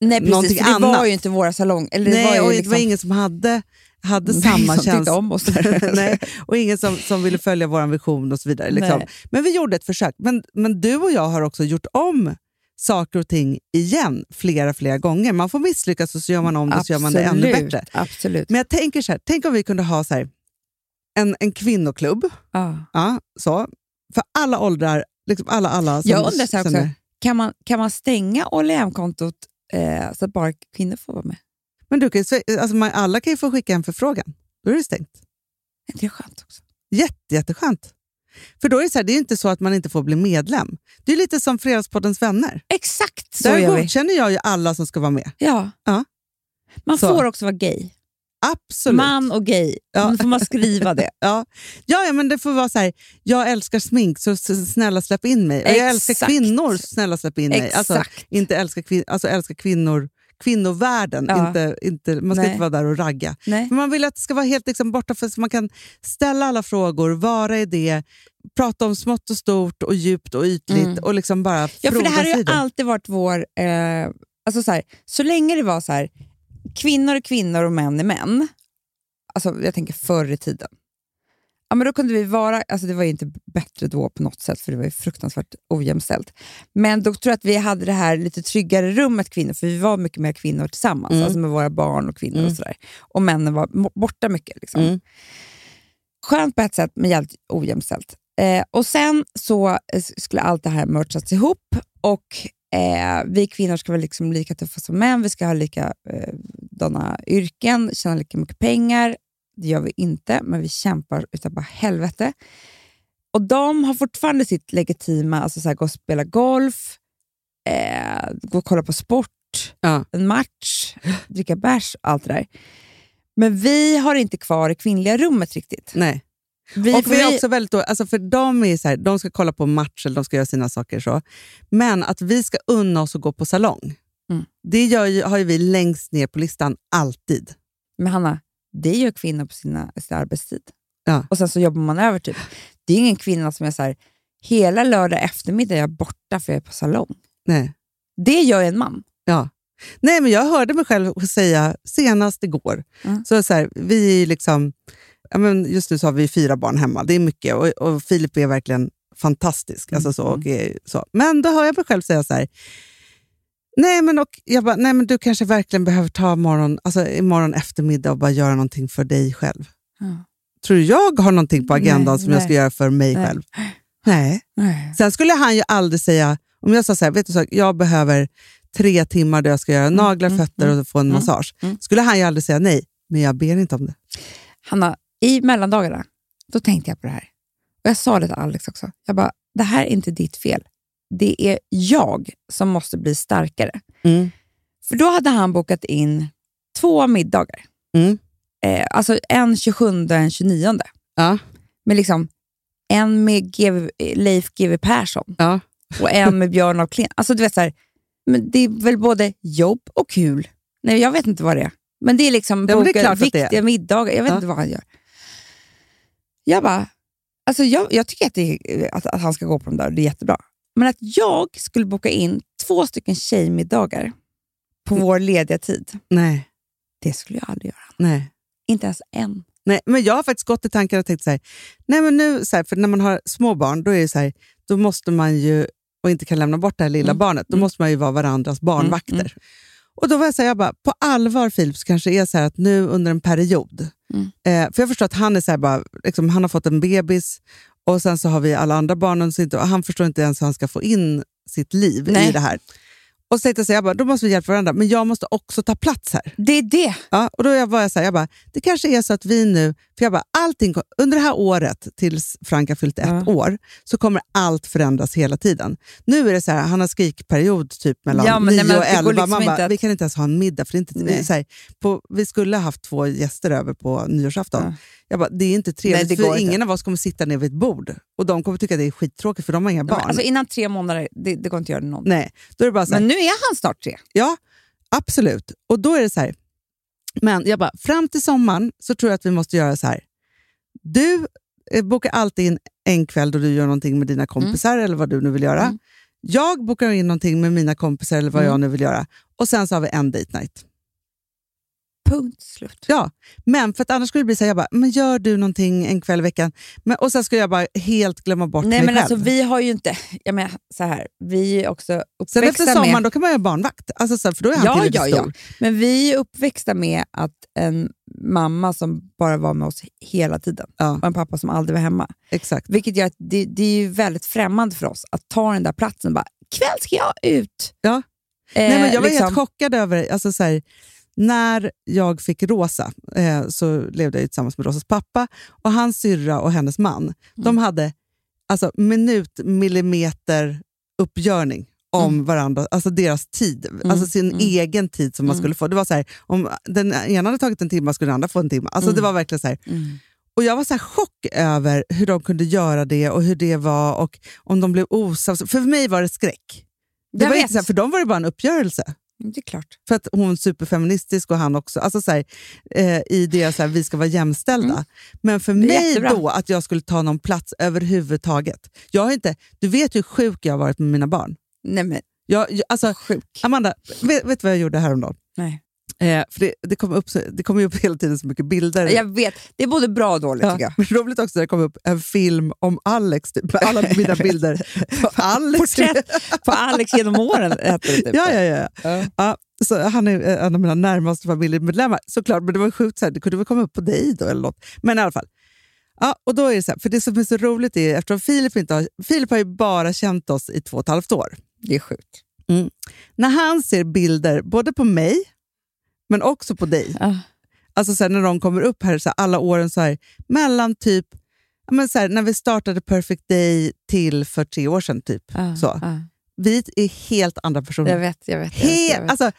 D: Nej,
C: Någonting
D: precis. För det var
C: annat.
D: ju inte våra salong. Eller det var
C: Nej,
D: ju
C: och det
D: liksom,
C: var ingen som hade, hade
D: ingen
C: samma
D: som tyckte
C: känsla.
D: om oss där.
C: Nej, och ingen som, som ville följa vår vision och så vidare. Liksom.
D: Nej.
C: Men vi gjorde ett försök. Men, men du och jag har också gjort om saker och ting igen flera, flera gånger. Man får misslyckas och så gör man om det och så gör man det ännu
D: Absolut,
C: bättre.
D: Absolut.
C: Men jag tänker så här, tänk om vi kunde ha så här, en, en kvinnoklubb,
D: Ja.
C: ja, så, för alla åldrar, liksom alla, alla. som
D: Jag undrar så här också.
C: känner-
D: Kan, man, kan man stänga OLM-kontot eh, så att bara kvinnor får vara med?
C: Men du, kan ju se- alltså, man, alla kan ju få skicka en förfrågan. Då är det stängt.
D: Är inte det skönt också?
C: Jätte, jätteskönt. För då är det, så här, det är ju inte så att man inte får bli medlem. Det är lite som Fredagspoddens vänner.
D: Exakt så
C: Där
D: gör vi.
C: godkänner jag ju alla som ska vara med.
D: Ja.
C: Ja.
D: Man
C: Så.
D: får också vara gay.
C: Absolut.
D: Man och gay.
C: Ja.
D: Då får man skriva det.
C: Ja. Ja, ja, men det får vara så här, jag älskar smink så s- snälla släpp in mig. Och jag älskar
D: Exakt.
C: kvinnor så snälla släpp in mig. Alltså,
D: Exakt.
C: inte älskar, kvin- alltså, älskar kvinnor, kvinnovärlden.
D: Ja.
C: Inte, inte, man ska
D: Nej.
C: inte vara där och ragga.
D: Nej.
C: Men man vill att det ska vara helt liksom, borta för, så man kan ställa alla frågor, vara i det, prata om smått och stort och djupt och ytligt
D: Mm.
C: och liksom bara
D: Ja, för det här
C: frodas
D: har
C: i
D: ju alltid varit vår... Eh, alltså så, här, så länge det var så här, kvinnor är kvinnor och män är män. Alltså, jag tänker förr i tiden. Ja, men då kunde vi vara, alltså det var ju inte bättre då på något sätt, för det var ju fruktansvärt ojämställt. Men då tror jag att vi hade det här lite tryggare rummet kvinnor, för vi var mycket mer kvinnor tillsammans,
C: Mm.
D: alltså med våra barn och kvinnor
C: Mm.
D: och sådär. Och männen var mo- borta mycket. Liksom.
C: Mm.
D: Skönt på ett sätt, men jävligt ojämställt. Eh, och sen så eh, s- skulle allt det här merchats ihop och eh, vi kvinnor ska vara liksom lika tuffa som män, vi ska ha likadana eh, dana yrken, tjäna lika mycket pengar. Det gör vi inte, men vi kämpar utav bara helvete. Och de har fortfarande sitt legitima, alltså så här, gå och spela golf, eh, gå och kolla på sport,
C: Ja.
D: en match, dricka bärs, allt det där. Men vi har inte kvar det kvinnliga rummet riktigt.
C: Nej.
D: Vi,
C: och vi är också väldigt då, alltså för de, är så här, de ska kolla på match eller de ska göra sina saker. så. Men att vi ska unna oss att gå på salong,
D: Mm.
C: det gör ju, har ju vi längst ner på listan alltid.
D: Men Hanna, det gör kvinnor på sina, sin arbetstid.
C: Ja.
D: Och sen så jobbar man över typ. Det är ingen kvinna som är så här, hela lördag eftermiddag är jag borta för jag är på salong.
C: Nej.
D: Det gör ju en man.
C: Ja. Nej, men jag hörde mig själv säga senast igår.
D: Mm.
C: Så så här, vi är ju liksom, ja, men just nu så har vi fyra barn hemma, det är mycket. Och, och Filip är verkligen fantastisk. Alltså så,
D: Mm.
C: och är, så. Men då hör jag mig själv säga så här, nej men, och, jag bara, nej men du kanske verkligen behöver ta morgon, alltså, imorgon eftermiddag och bara göra någonting för dig själv.
D: Ja.
C: Tror du jag har någonting på agendan
D: Nej,
C: som jag
D: nej.
C: ska göra för mig
D: Nej.
C: själv? Nej. Sen skulle han ju aldrig säga, om jag sa så här, vet du, så här, jag behöver tre timmar där jag ska göra naglar, fötter och få en massage. Skulle han ju aldrig säga nej, men jag ber inte om det.
D: Hanna, i mellandagarna, då tänkte jag på det här. Och jag sa det till Alex också. Jag bara, det här är inte ditt fel. Det är jag som måste bli starkare.
C: Mm.
D: För då hade han bokat in två middagar.
C: Mm.
D: Eh, alltså en 27 och en 29.
C: Ja.
D: Men liksom, en med GV, eh, Leif GW Persson
C: Ja.
D: och en med Björn av Klen. Alltså, du vet, så här, men det är väl både jobb och kul. Nej, jag vet inte vad det är. Men det är liksom
C: Ja, men det är
D: boka
C: klart att det är.
D: viktiga middagar. Jag vet
C: Ja.
D: inte vad han gör. Jag bara, alltså jag, jag tycker att, det, är- att, att han ska gå på de där och det är jättebra. Men att jag skulle boka in två stycken tjejmiddagar på
C: Mm.
D: vår lediga tid,
C: Nej,
D: det skulle jag aldrig göra.
C: nej.
D: Inte ens en.
C: Nej, men jag har faktiskt gått i tankar och tänkt så här, nej men nu, så här, för när man har små barn, då är det så här, då måste man ju, och inte kan lämna bort det här lilla
D: Mm.
C: barnet, då
D: Mm.
C: måste man ju vara varandras barnvakter.
D: Mm.
C: Och då var jag så här, jag bara, på allvar Filip, så kanske det är så här att nu under en period,
D: Mm.
C: eh, för jag förstår att han är så här bara, liksom, han har fått en bebis och sen så har vi alla andra barnen, så inte, och han förstår inte ens hur han ska få in sitt liv
D: Nej.
C: i det här. Och så tänkte jag, så här, jag bara, då måste vi hjälpa varandra, men jag måste också ta plats här.
D: Det är det.
C: Ja, och då jag- var jag så här, jag bara, det kanske är så att vi nu, för jag bara, allting, kom- under det här året tills Frank har fyllt ett
D: Ja.
C: år, så kommer allt förändras hela tiden. Nu är det så här, han har skrikperiod typ mellan
D: Ja, men nej,
C: 9
D: men
C: och
D: det går
C: 11.
D: liksom
C: Man bara,
D: inte att-
C: vi kan inte ens ha en middag. För det är inte, vi,
D: Nej.
C: så här, på, vi skulle ha haft två gäster över på nyårsafton.
D: Ja.
C: Jag bara, det är inte trevligt,
D: Nej, det går
C: för
D: inte.
C: ingen av oss kommer sitta ner vid ett bord. Och de kommer tycka det är skittråkigt, för de har inga barn.
D: Alltså innan tre månader, det, det går inte att göra någonting.
C: nej, då är det bara så här,
D: Men nu är han snart tre.
C: Ja, absolut. Och då är det så här. Men jag bara, fram till sommaren så tror jag att vi måste göra så här. Du eh, bokar alltid in en kväll då du gör någonting med dina kompisar eller vad du nu vill göra.
D: Mm.
C: Jag bokar in någonting med mina kompisar eller vad jag nu vill göra. Och sen så har vi en date night.
D: Punkt slut.
C: Ja, men för att annars skulle det bli så här, jag bara, men gör du någonting en kväll i veckan? Men, och sen skulle jag bara helt glömma bort
D: Nej,
C: mig
D: men
C: själv.
D: alltså, vi har ju inte... Jag menar, så här, vi är också
C: Sen
D: uppväxta
C: efter sommaren
D: med...
C: då kan man göra barnvakt. Alltså, så här, för då är han
D: Ja,
C: tillräckligt
D: ja, ja.
C: stor.
D: Men vi är uppväxta med att en mamma som bara var med oss hela tiden
C: Ja.
D: och en pappa som aldrig var hemma.
C: Exakt.
D: Vilket gör att det, det är ju väldigt främmande för oss att ta den där platsen och bara “ikväll ska jag ut”.
C: Ja.
D: Eh,
C: Nej, men jag var
D: liksom.
C: helt chockad över... Alltså, så här, när jag fick Rosa eh, så levde jag ju tillsammans med Rosas pappa. Och Hans syrra och hennes man
D: Mm.
C: de hade alltså, minut, millimeter uppgörning om
D: Mm.
C: varandra, alltså deras tid, alltså sin egen tid
D: Mm.
C: som man skulle få. Det var så här, om den ena hade tagit en timme skulle den andra få en timme. Alltså
D: Mm.
C: det var verkligen så här. Och jag var så här chock över hur de kunde göra det och hur det var och om de blev osams. För mig var det skräck. Det
D: Jag
C: var
D: vet.
C: inte så här, för dem var det bara en uppgörelse.
D: Men Det är klart.
C: För att hon är superfeministisk och han också. Alltså så här, eh, I det så här, vi ska vara jämställda. Men för mig
D: Mm. Jättebra.
C: då, att jag skulle ta någon plats överhuvudtaget. Jag har inte, du vet hur sjuk jag har varit med mina barn.
D: Nej, men
C: Jag, jag, alltså,
D: sjuk.
C: Amanda, vet, vet du vad jag gjorde häromdagen?
D: Nej.
C: Eh, för det, det kommer upp, så- det kom ju upp hela tiden så mycket bilder.
D: Jag vet, det är både bra och dåligt tycker
C: Ja,
D: jag.
C: men roligt också när det kom upp en film om Alex, typ, med alla mina bilder. På Alex.
D: Porträtt på Alex genom åren hette det typ.
C: Ja, ja, ja.
D: Ja.
C: Ja, så han är eh, en av mina närmaste familjemedlemmar, såklart. Men det var sjukt, så här, det kunde väl komma upp på dig då eller något. Men i alla fall. Ja, och då är det så här, för det som är så roligt är, eftersom Filip inte har, Filip har ju bara känt oss i två och ett halvt år.
D: Det är sjukt.
C: När han ser bilder, både på mig, men också på dig.
D: Ja.
C: Alltså så här, när de kommer upp här, så här, alla åren så här, mellan typ, ja, men så här, när vi startade Perfect Day till för tre år sedan typ. Så.
D: Ja.
C: Vi är helt andra personer.
D: Jag vet, jag vet. Jag vet, jag
C: Helt,
D: vet.
C: alltså,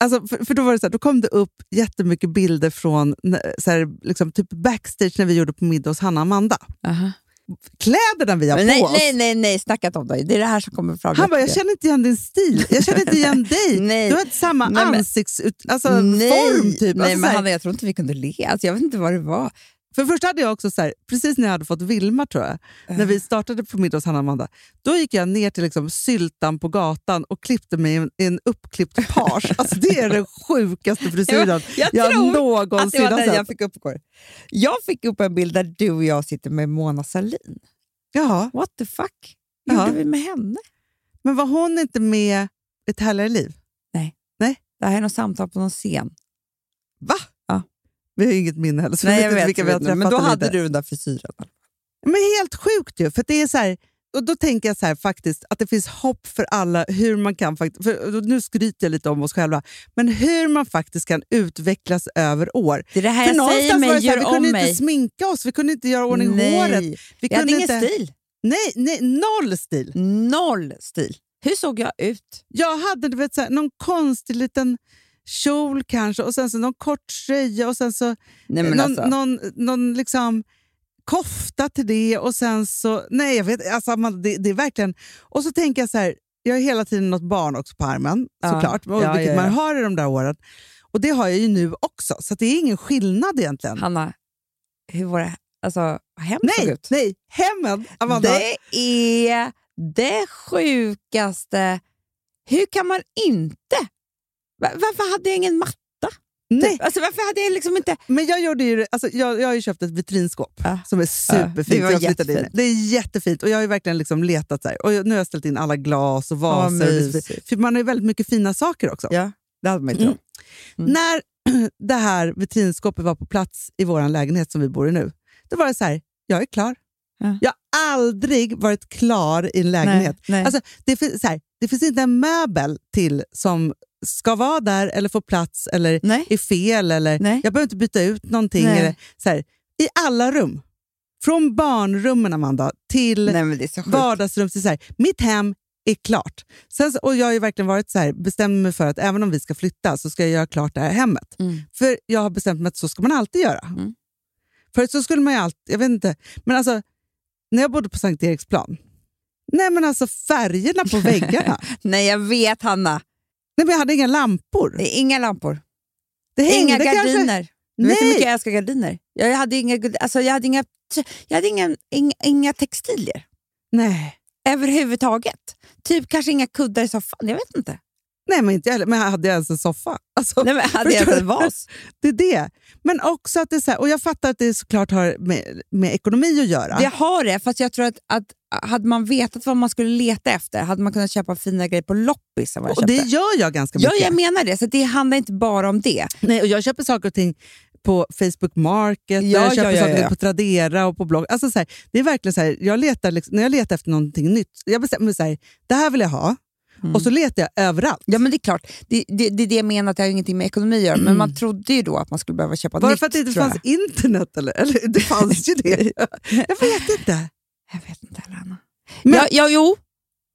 C: alltså, för, för då, var det så här, då kom det upp jättemycket bilder från när- så här, liksom, typ backstage när vi gjorde på middag hos Hanna och Amanda.
D: Aha.
C: Kläderna vi har
D: Men
C: på
D: nej,
C: oss.
D: nej, nej, nej, snacka inte om det. Det är det här som kommer fram.
C: Han bara, jag känner inte igen din stil. Jag känner inte igen dig.
D: Nej.
C: Du har inte samma
D: Nej, men-
C: ansiktsform. Alltså,
D: nej,
C: form, typ.
D: nej
C: alltså, så
D: men
C: här,
D: Hanna, jag tror inte vi kunde le. Alltså, jag vet inte vad det var.
C: För först hade jag också, så här, precis när jag hade fått Vilma tror jag, när
D: Eh.
C: vi startade på middag hos Hanna och Amanda, då gick jag ner till liksom, syltan på gatan och klippte mig i en, i en uppklippt page. Alltså, det är den sjukaste frisyren
D: Jag
C: jag
D: tror att Alltså, det
C: någonsin
D: var
C: har
D: den jag
C: sett.
D: fick upp igår. Jag fick upp en bild där du och jag sitter med Mona Sahlin.
C: Jaha,
D: What the fuck?
C: Ja.
D: Gjorde vi med henne?
C: men var hon inte med Ett härligare liv?
D: Det här är något samtal på någon scen.
C: Va?
D: Ja.
C: Vi har ju inget minne heller, så
D: Nej,
C: vi
D: jag
C: vet inte
D: vet,
C: vilka
D: jag
C: vi har
D: vet nu,
C: träffat.
D: men då
C: eller
D: hade
C: inte.
D: du den där frisyren.
C: Men helt sjukt ju, för att det är så här, och då tänker jag så här faktiskt att det finns hopp för alla hur man kan faktiskt, för och nu skryter jag lite om oss själva, men hur man faktiskt kan utvecklas över år.
D: Det är det här
C: för
D: jag säger
C: någonstans var
D: mig,
C: det så här,
D: gör
C: vi kunde
D: om
C: inte
D: mig.
C: sminka oss, vi kunde inte göra ordning
D: Nej.
C: håret. Vi
D: Jag hade
C: kunde
D: ingen
C: inte,
D: stil.
C: Nej, nej, noll stil.
D: Noll stil. Hur såg jag ut?
C: Jag hade du vet, så här, någon konstig liten kjol kanske och sen så någon kort tröja och sen så
D: Nej, alltså,
C: någon, någon, någon liksom kofta till det och sen så... Nej, jag vet alltså, man, det, det är verkligen... Och så tänker jag så här, jag har hela tiden något barn också på armen
D: Ja.
C: såklart, och
D: Ja,
C: vilket
D: ja, ja.
C: man har i de där åren. Och det har jag ju nu också, så att det är ingen skillnad egentligen.
D: Hanna, hur var det? Alltså, vad hemskt såg
C: nej,
D: ut.
C: nej, hemmen, Amanda.
D: Det är det sjukaste. Hur kan man inte? Va- Varför hade jag ingen matta?
C: nej.
D: Typ? Alltså, varför hade jag liksom inte...
C: Men jag, gjorde ju, alltså, jag, jag har ju köpt ett vitrinskåp
D: Ja.
C: som är superfint.
D: Ja, det var
C: som jag flyttade in i.
D: jättefint.
C: det är jättefint och jag har ju verkligen liksom letat. Så här. Och jag, nu har jag ställt in alla glas och
D: vad
C: vaser. och det är så
D: mysigt.
C: fint. för man har ju väldigt mycket fina saker också.
D: Ja, det hade man inte.
C: Mm.
D: då. Mm.
C: När det här vitrinskåpet var på plats i vår lägenhet som vi bor i nu, då var det så här, jag är klar.
D: Ja.
C: Jag har aldrig varit klar i en
D: Nej,
C: lägenhet.
D: nej.
C: Alltså, det, finns, så här, det finns inte en möbel till som ska vara där eller få plats eller
D: nej.
C: är fel. Eller,
D: Nej.
C: Jag behöver inte byta ut någonting.
D: Nej.
C: Eller, så här, I alla rum. Från barnrummen, Amanda, till
D: nej, men det är så sjukt.
C: vardagsrum. till Så här, mitt hem är klart. Sen, så- och jag har ju verkligen varit så här, bestämt mig för att även om vi ska flytta så ska jag göra klart det här hemmet.
D: Mm.
C: För jag har bestämt mig att så ska man alltid göra.
D: Mm.
C: Förut så skulle man ju alltid, jag vet inte, men alltså när jag bodde på Sankt Eriksplan, nej men alltså färgerna på väggarna.
D: Nej, jag vet Hanna.
C: nej men jag hade inga lampor.
D: Det är inga lampor.
C: Det hängde
D: inga gardiner.
C: kanske.
D: Du vet hur
C: Nej.
D: mycket jag älskar gardiner. Jag hade inga, guld- alltså, jag hade inga, jag hade inga, inga, inga textilier
C: Nej.
D: överhuvudtaget. Typ kanske inga kuddar i soffan. Jag vet inte.
C: nej, men inte jag heller. Men hade jag ens en soffa? Alltså,
D: Nej, men hade jag
C: Förstår
D: en
C: du?
D: vas?
C: Det är det. Men också att det är så här, och jag fattar att det såklart har med, med ekonomi att göra.
D: Det har det, fast jag tror att, att hade man vetat vad man skulle leta efter hade man kunnat köpa fina grejer på loppis. Än vad jag
C: och det
D: köpte.
C: gör jag ganska
D: Ja,
C: mycket.
D: jag menar det. Så det handlar inte bara om det.
C: Nej, och jag köper saker och ting på Facebook
D: Ja,
C: Market, jag köper
D: ja, ja,
C: saker och
D: ja.
C: ting på Tradera och på blogg. Alltså, så här, det är verkligen så här, jag letar, liksom, när jag letar efter någonting nytt, jag bestämmer mig så här, det här vill jag ha. Och så letar jag överallt.
D: Mm. Ja, men det är klart. Det, det, det är det jag menar, att det har ju ingenting med ekonomi att göra. Men man trodde ju då att man skulle behöva köpa
C: Var det
D: nytt.
C: för att det inte
D: tror
C: fanns internet? Eller? eller det fanns ju det. Jag vet inte.
D: Jag vet inte heller, Anna.
C: Men-
D: ja, ja, jo.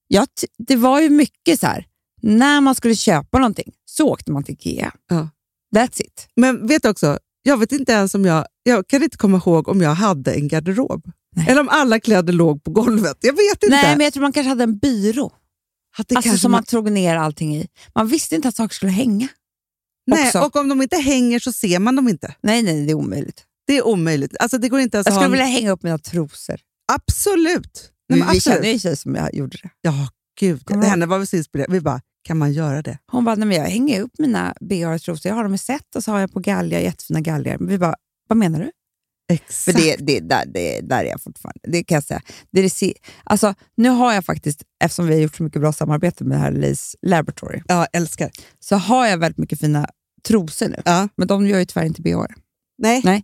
D: Ja, t- det var ju mycket så här. När man skulle köpa någonting så åkte man till Ikea.
C: Ja.
D: That's it.
C: Men vet du också, jag vet inte ens om jag, jag kan inte komma ihåg om jag hade en garderob.
D: Nej.
C: Eller om alla kläder låg på golvet. Jag vet inte.
D: Nej, men jag tror man kanske hade en byrå.
C: Att det
D: alltså
C: kanske
D: som
C: man-
D: man drog ner allting i. Man visste inte att saker skulle hänga.
C: Nej,
D: också.
C: och om de inte hänger så ser man dem inte.
D: Nej, nej, det är omöjligt.
C: Det är omöjligt. Alltså, det går inte ens
D: Jag
C: att ha
D: skulle
C: en...
D: vilja hänga upp mina trosor.
C: Absolut! Nej, men
D: vi
C: absolut.
D: känner ju en tjej som jag gjorde det.
C: Ja, gud.
D: Kommer
C: Det
D: du
C: henne var vi så inspirerade. Vi bara, kan man göra det?
D: Hon bara, nej, men jag hänger upp mina BH-trosor. Jag har dem i set och så har jag på galgar, jättefina galgar. Men vi bara, vad menar du? För
C: Exakt.
D: det, det, där, det, där är jag fortfarande. Det kan jag säga. Det är det, si- alltså, nu har jag faktiskt, eftersom vi har gjort så mycket bra samarbete med det här Lace Laboratory,
C: Ja, älskar.
D: så har jag väldigt mycket fina trosor nu.
C: Ja.
D: Men de gör ju tyvärr inte BH.
C: Nej.
D: Nej.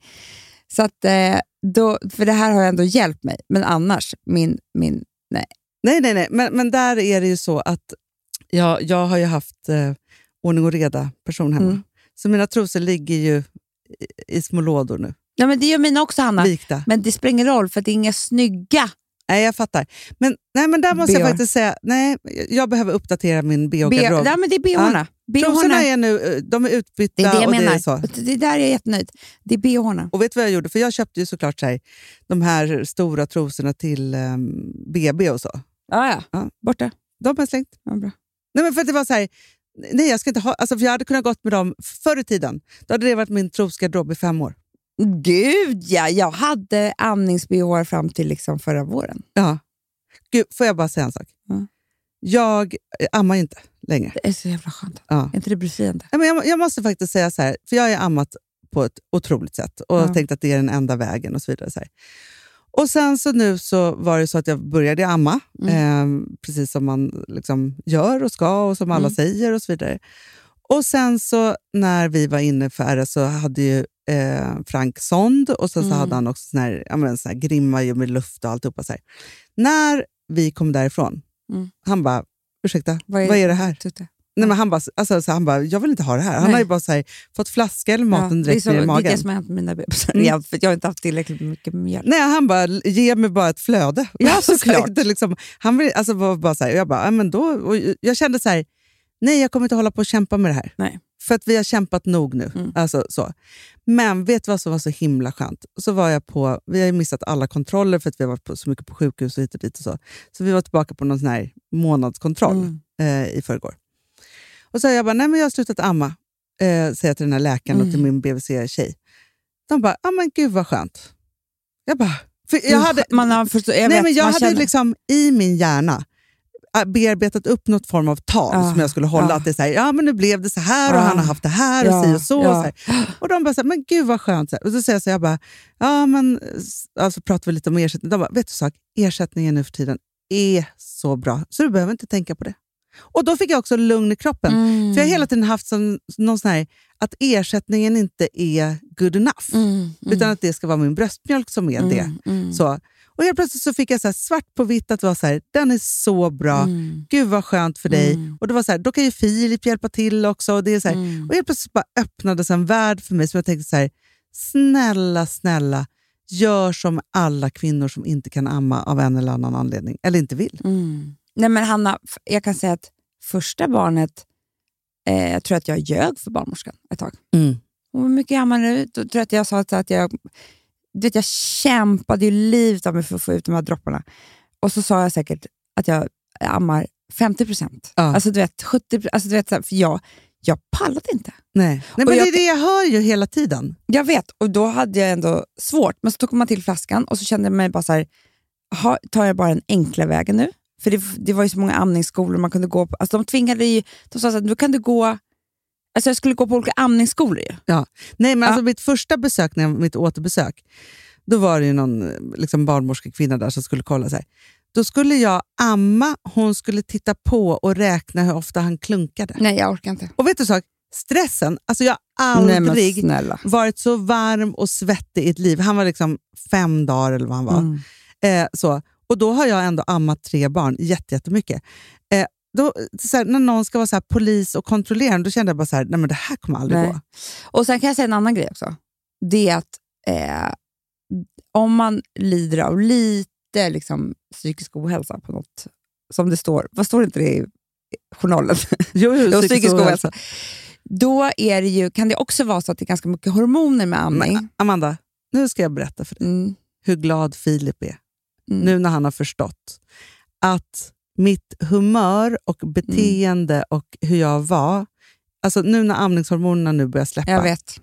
D: Så att, eh, då, för det här har ändå hjälpt mig. Men annars, min, min,
C: Nej, nej, nej. Men, men där är det ju så att jag, jag har ju haft eh, ordning och reda person hemma.
D: Mm.
C: Så mina trosor ligger ju i, i små lådor nu,
D: nej, men det gör mina också, Hanna.
C: vikta.
D: Men det spelar ingen roll, för det är inga snygga
C: Nej, jag fattar. Men, nej, men där måste jag
D: BH.
C: faktiskt säga, nej, jag behöver uppdatera min
D: B-
C: bh-garderob.
D: nej, men det är bhorna.
C: Trosorna
D: bhorna.
C: är nu, eh, de är utbytta
D: Det är det jag
C: och
D: menar.
C: det är så.
D: Det där är jag jättenöjd. Det är bhorna.
C: Och vet du vad jag gjorde? För jag köpte ju såklart så här, de här stora trosorna till ehm, BB och så.
D: Ja, ja.
C: Ja.
D: Borta.
C: De har jag slängt.
D: Ja, bra.
C: Nej, men för att det var så här, nej jag ska inte ha, alltså för jag hade kunnat gått med dem förr i tiden. Då hade det varit min trosgarderob i fem år.
D: Gud ja, jag hade amnings-bh fram till liksom förra våren.
C: Ja. Gud, får jag bara säga en sak?
D: Ja.
C: Jag eh, ammar ju inte längre.
D: Det är så jävla skönt.
C: Ja.
D: Är inte det befriande?
C: Nej, men jag, jag måste faktiskt säga så här, för jag har ju ammat på ett otroligt sätt och
D: Ja.
C: tänkt att det är den enda vägen och så vidare. Så här. Och sen så nu så var det så att jag började amma,
D: Mm.
C: eh, precis som man liksom gör och ska och som alla
D: Mm.
C: säger och så vidare. Och sen så när vi var inne för RS så hade ju eh, Frank sond och sen så
D: Mm.
C: hade han också sån här, ja, men sån här grimma ju med luft och alltihopa. Så här. När vi kom därifrån,
D: Mm.
C: han bara, ursäkta,
D: Vad är-
C: vad är det här?
D: Tutte.
C: Nej, men han, bara, alltså, så han bara, jag vill inte ha det här. Han
D: Nej.
C: har ju bara så här, fått flaska eller maten
D: Ja, det, är
C: direkt
D: så, det
C: ner i
D: är
C: magen.
D: det som har hänt med mina bebisar.
C: Mm.
D: Jag, för jag har inte haft tillräckligt mycket mjölk.
C: Nej, han bara, ge mig bara ett flöde.
D: Ja,
C: Så här,
D: såklart.
C: det liksom, han vill, alltså, var bara så här, och jag bara, ja, men då, och jag kände så här, nej jag kommer inte hålla på och kämpa med det här.
D: Nej.
C: För att vi har kämpat nog nu.
D: Mm.
C: Alltså, så. Men vet du vad som var så himla skönt? Så var jag på, vi har ju missat alla kontroller för att vi har varit på, så mycket på sjukhus och hit och dit. Och så. så vi var tillbaka på någon sån här månadskontroll
D: Mm.
C: eh, i förrgår. Och så jag bara, nej men jag har slutat amma, eh, säger jag till den här läkaren och
D: Mm.
C: till min BVC-tjej. De bara, ja men gud vad skönt. Jag bara, för jag hade,
D: man har förstå, jag
C: nej,
D: vet,
C: men jag
D: man
C: hade
D: känner-
C: liksom i min hjärna eh, bearbetat upp något form av tal
D: Ja,
C: som jag skulle hålla.
D: ja.
C: Att det är så här, ja men nu blev det så här och
D: Ja.
C: han har haft det här och
D: ah. Ja,
C: si och så. Och,
D: ja.
C: så här. och de bara, så här, men gud vad skönt. Så här. Och så säger jag så här, jag bara, ja men, s- alltså pratar vi lite om ersättning. De bara, vet du sak, ersättningen nu för tiden är så bra så du behöver inte tänka på det. Och då fick jag också lugn i kroppen.
D: Mm.
C: För jag har hela tiden haft som, någon sån här, att ersättningen inte är good enough.
D: Mm, mm,
C: Utan att det ska vara min bröstmjölk som är det.
D: mm, mm,
C: Så. Och helt plötsligt så fick jag så här svart på vitt att det var så här, den är så bra.
D: mm,
C: Gud vad skönt för dig.
D: Mm.
C: Och det var så här, Då kan ju Filip hjälpa till också. Och, det är så här.
D: mm.
C: och helt plötsligt bara öppnades en värld för mig som jag tänkte så här, snälla, snälla, gör som alla kvinnor som inte kan amma av en eller annan anledning. Eller inte vill.
D: Mm. Nej, men Hanna, f- jag kan säga att första barnet, eh, jag tror att jag ljög för barnmorskan ett tag.
C: Mm.
D: Hon var mycket gammal nu. Då tror jag att jag sa att att jag, du vet, jag kämpade ju livet av mig för att få ut de här dropparna. Och så sa jag säkert att jag ammar 50 procent.
C: Ja.
D: Alltså du vet, 70 alltså, du vet, så här, för jag, jag pallade inte.
C: Nej. Nej,
D: Och
C: men
D: jag-
C: Det är det jag hör ju hela tiden.
D: Jag vet, och då hade jag ändå svårt. Men så tog man till flaskan och så kände jag mig bara så här, ha, tar jag bara den enkla vägen nu? För det, det var ju så många amningsskolor man kunde gå på. Alltså de tvingade ju, de sa så här, du kan du gå, alltså jag skulle gå på olika amningsskolor ju.
C: Nej, men
D: Ja.
C: alltså mitt första besök, när jag, mitt återbesök, då var det ju någon eh, liksom barnmorskekvinna där som skulle kolla. Så här. Då skulle jag amma, hon skulle titta på och räkna hur ofta han klunkade.
D: Nej, jag orkar inte.
C: Och vet du en sak? Stressen, alltså jag har
D: Nej, men
C: aldrig
D: snälla.
C: varit så varm och svettig i ett liv. Han var liksom fem dagar eller vad han var.
D: Mm.
C: Eh, så. Och då har jag ändå ammat tre barn jätte- jättemycket. Eh, då, så här, när någon ska vara så här, polis och kontrollerande, då kände jag bara så här, nej men det här kommer aldrig
D: Nej.
C: gå.
D: Och sen kan jag säga en annan grej också. Det är att eh, om man lider av lite liksom, psykisk ohälsa på något, som det står, vad står det inte det i journalen?
C: Jo, jo,
D: Jo, psykisk ohälsa. Då är det ju, kan det också vara så att det är ganska mycket hormoner med amning.
C: Men, Amanda, nu ska jag berätta för dig
D: Mm.
C: hur glad Filip är
D: Mm.
C: nu när han har förstått att mitt humör och
D: Mm.
C: beteende och hur jag var. Alltså nu när amningshormonerna nu börjar
D: Jag
C: släppa
D: vet.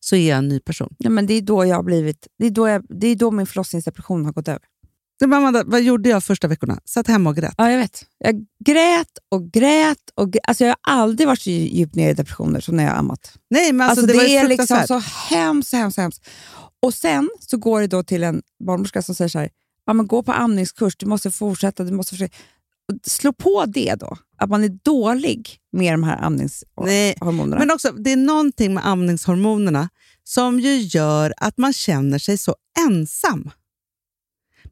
C: så är jag en ny person.
D: Ja, men det, är då jag har blivit, det, är då jag, det är då min förlossningsdepression har gått över.
C: Men Amanda, vad gjorde jag första veckorna? Satt hemma och grät.
D: Ja, jag vet. Jag grät och grät och grät. Alltså, jag har aldrig varit så djupt nere i depressioner som när jag har ammat.
C: Nej, men alltså,
D: Alltså,
C: det,
D: det,
C: var ju
D: är liksom
C: fruktansvärt.
D: så hemskt, hemskt, hemskt. Och sen så går det då till en barnmorska som säger så här, ja, men gå på amningskurs, du måste fortsätta, du måste försöka. Och Slå på det då, att man är dålig med de här
C: Nej,
D: amningshormonerna.
C: Men också, det är någonting med amningshormonerna som ju gör att man känner sig så ensam.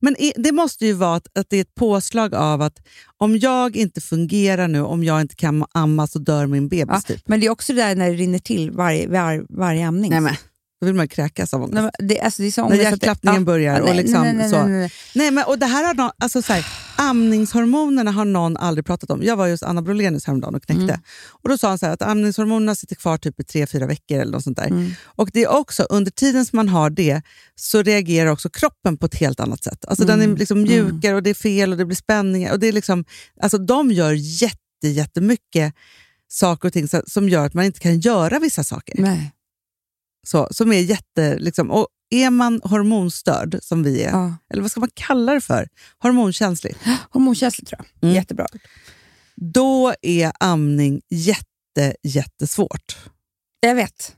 C: Men i- det måste ju vara att, att det är ett påslag av att om jag inte fungerar nu, om jag inte kan amma så dör min bebis.
D: Ja,
C: Typ.
D: men det är också det där när det rinner till varje, var, varje amning.
C: Nej, men. Då vill man ju kräkas av ångest.
D: Nej, men det, alltså, det är så
C: när
D: ångest att det-
C: hjärtklappningen
D: ja.
C: börjar.
D: Ja,
C: och
D: nej,
C: liksom
D: nej, nej,
C: så.
D: nej, nej, nej.
C: Nej, men, och det här har någon, alltså, så här, amningshormonerna har någon aldrig pratat om. Jag var just Anna Brolenius häromdagen och knäckte. Och Då sa hon så här, att amningshormonerna sitter kvar typ i tre, fyra veckor. eller något sånt där. Och det är också, Under tiden som man har det så reagerar också kroppen på ett helt annat sätt. Alltså, Den är liksom mjukare och det är fel och det blir spänningar. Och det är liksom, alltså, de gör jätte, jättemycket saker och ting så, som gör att man inte kan göra vissa saker.
D: Nej.
C: Så, som är jätte... Liksom, och är man hormonstörd, som vi är,
D: Ja.
C: eller vad ska man kalla det för? Hormonkänslig.
D: Hormonkänslig tror jag.
C: Mm.
D: Jättebra.
C: Då är amning jätte, jättesvårt.
D: Jag vet.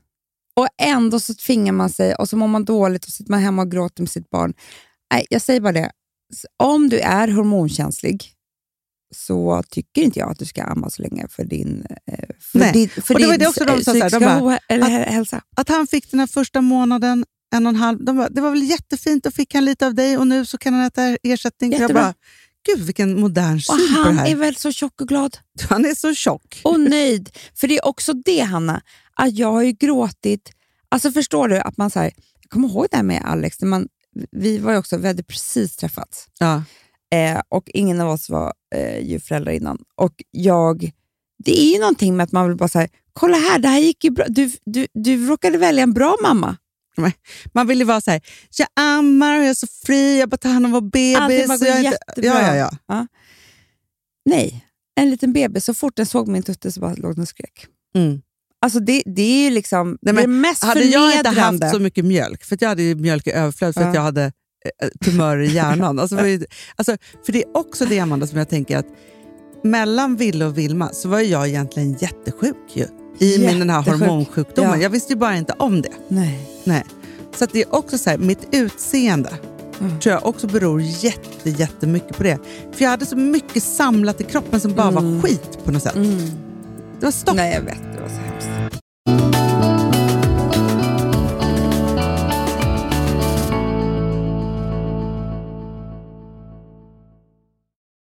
D: Och ändå så tvingar man sig och så mår man dåligt och sitter man hemma och gråter med sitt barn. Nej, jag säger bara det. S- Om du är hormonkänslig så tycker inte jag att du ska amma så länge för din, eh,
C: Nej.
D: för din, för
C: Och det
D: din
C: var det också de
D: s-
C: sa så här, de
D: psykiska
C: bara, "Ah,
D: ohe- eller hä- hälsa.
C: Att han fick den här första månaden, en och en halv, de bara, det var väl jättefint, och fick han lite av dig och nu så kan han äta ersättning. Jag
D: Jättebra.
C: bara, Gud vilken modern
D: Och
C: syn på det
D: han
C: här.
D: är väl så tjock och glad
C: Han är så tjock.
D: och nöjd. För det är också det, Hanna, att jag har ju gråtit. Alltså förstår du att man så här, jag kommer ihåg det här med Alex, när man, vi var ju också, vi hade precis träffats.
C: Ja.
D: Eh, och ingen av oss var eh, ju föräldrar innan. Och jag, det är ju någonting med att man vill bara säga, kolla här, det här gick ju bra. Du, du, du råkade välja en bra mamma.
C: Man vill ju vara så här, jag ammar, och jag är så fri, jag bara tar hand om vår bebis.
D: Allting bara
C: och jag
D: går
C: är inte-
D: jättebra.
C: Ja, ja, ja.
D: Nej, en liten bebis. Så fort den såg min tutte så bara låg den och skrek.
C: Mm.
D: Alltså det, det är ju liksom
C: Nej,
D: det
C: men
D: är mest
C: Hade
D: förnedrande.
C: jag inte haft så mycket mjölk, för att jag hade ju mjölk i överflöd för att
D: Ja.
C: jag hade eh, tumörer i hjärnan. Alltså, det var ju- alltså, för det är också det Amanda som jag tänker att mellan Ville och Vilma så var ju jag egentligen jättesjuk ju, i min den här
D: Jättesjuk.
C: hormonsjukdomen.
D: Ja.
C: Jag visste ju bara inte om det.
D: Nej.
C: Nej. Så att det är också så här, mitt utseende
D: Mm.
C: tror jag också beror jätte, jättemycket på det. För jag hade så mycket samlat i kroppen som bara var
D: Mm.
C: skit på något sätt. Det var stopp.
D: Nej, jag vet. Det var så hemskt.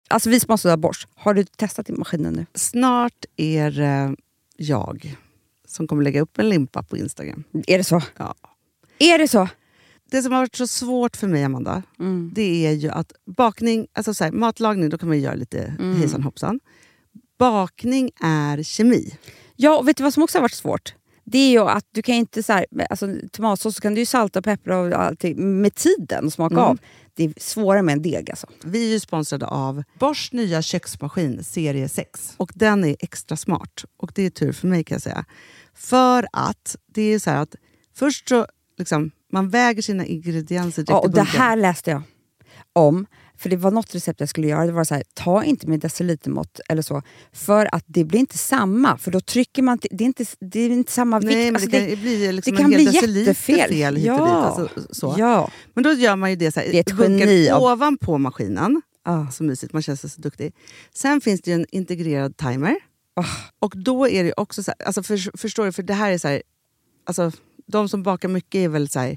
D: Alltså vi som har sådär borst, har du testat i maskinen nu?
C: Snart är det jag som kommer lägga upp en limpa på Instagram.
D: Är det så?
C: Ja.
D: Är det så?
C: Det som har varit så svårt för mig, Amanda,
D: Mm.
C: det är ju att bakning, alltså så här, matlagning, då kan man ju göra lite
D: Mm.
C: hejsan hoppsan. Bakning är kemi.
D: Ja, och vet du vad som också har varit svårt? Det är ju att du kan inte så här, alltså tomatsås så kan du ju salta och peppra och allting med tiden och smaka av. Det är svårare med en deg alltså.
C: Vi är ju sponsrade av Bors nya köksmaskin serie 6. Och den är extra smart. Och det är tur för mig kan jag säga. För att det är så här att först så liksom, man väger sina ingredienser direkt
D: Ja, och
C: i
D: det
C: bunken.
D: här läste jag om. För det var något recept jag skulle göra. Det var så här, ta inte med decilitermått eller så. För att det blir inte samma. För då trycker man... till- Det är inte, det är inte samma vikt.
C: Nej, men
D: Alltså,
C: det kan ju bli liksom
D: det kan
C: en hel
D: bli
C: deciliter
D: jättefel.
C: fel hit och dit.
D: Ja.
C: Alltså, så.
D: Ja.
C: Men då gör man ju det så här,
D: Det är ett
C: dunkar
D: geni av-
C: ovanpå maskinen.
D: Ah.
C: Så mysigt, man känns så duktig. Sen finns det ju en integrerad timer.
D: Ah.
C: Och då är det ju också så här, alltså för, förstår du, för det här är så här, alltså de som bakar mycket är väl så här,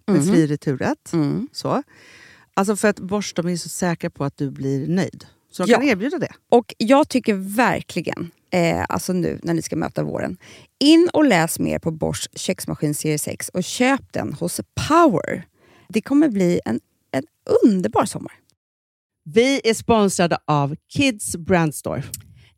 C: med Mm. fri returrätt. Så. Alltså för att Bosch de är ju så säkra på att du blir nöjd. Så de
D: Ja.
C: kan erbjuda det.
D: Och jag tycker verkligen, eh, alltså nu när ni ska möta våren, in och läs mer på Bosch köksmaskin serie 6 och köp den hos Power. Det kommer bli en, en underbar sommar.
C: Vi är sponsrade av Kids Brand Store.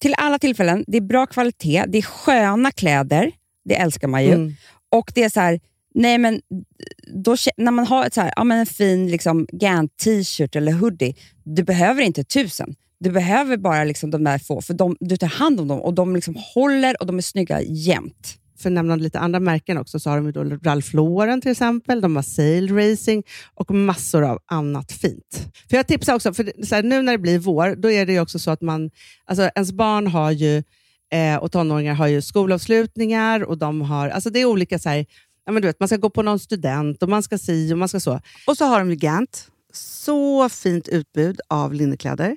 D: Till alla tillfällen, det är bra kvalitet, det är sköna kläder, det älskar man ju.
C: Mm.
D: Och det är så här, nej men, då, kä- när man har ett så här, ja men en fin liksom, Gant t-shirt eller hoodie, du behöver inte tusen. Du behöver bara liksom de där få, för de, du tar hand om dem och de liksom håller och de är snygga jämt.
C: För att nämna lite andra märken också, så har de ju då Ralph Lauren till exempel, de har Sail Racing och massor av annat fint. För Jag tipsar också, för det- så här, nu när det blir vår, då är det ju också så att man, alltså ens barn har ju, eh, och tonåringar har ju skolavslutningar och de har, alltså det är olika så här, ja, men du vet, man ska gå på någon student och man ska si och man ska så. Och så har de ju Gant, så fint utbud av linnekläder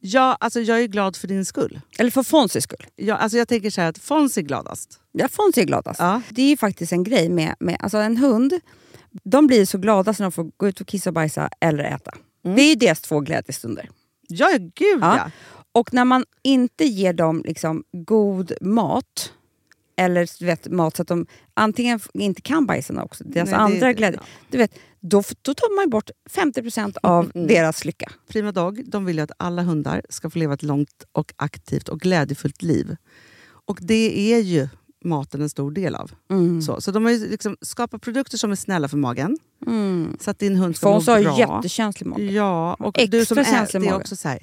C: Ja, alltså jag är glad för din skull.
D: Eller för Fonzys skull.
C: Jag, alltså jag tänker så här att Fons är gladast.
D: Ja, Fonzie är gladast.
C: Ja.
D: alltså. Det är ju faktiskt en grej med, med alltså en hund. De blir så glada när de får gå ut och kissa och bajsa eller äta.
C: Mm.
D: Det är ju deras två glädjestunder.
C: Ja, ja, gud
D: Ja.
C: ja.
D: Och när man inte ger dem liksom god mat, eller du vet, mat så att de antingen f- inte kan bajsa också, deras
C: Nej, det-
D: alltså andra
C: det-
D: glädje,
C: ja.
D: du vet, då, f- då tar man ju bort 50% av
C: Mm.
D: deras lycka.
C: Prima Dog de vill ju att alla hundar ska få leva ett långt och aktivt och glädjefullt liv. Och det är ju maten en stor del av.
D: Mm.
C: Så, så de har ju liksom skapat produkter som är snälla för magen.
D: Mm.
C: Så att din hund ska
D: Fons
C: må
D: har
C: bra.
D: ju jättekänslig mage.
C: Ja, och
D: Extra
C: du som är,
D: känslig Mm.
C: det är
D: mage.
C: också så här.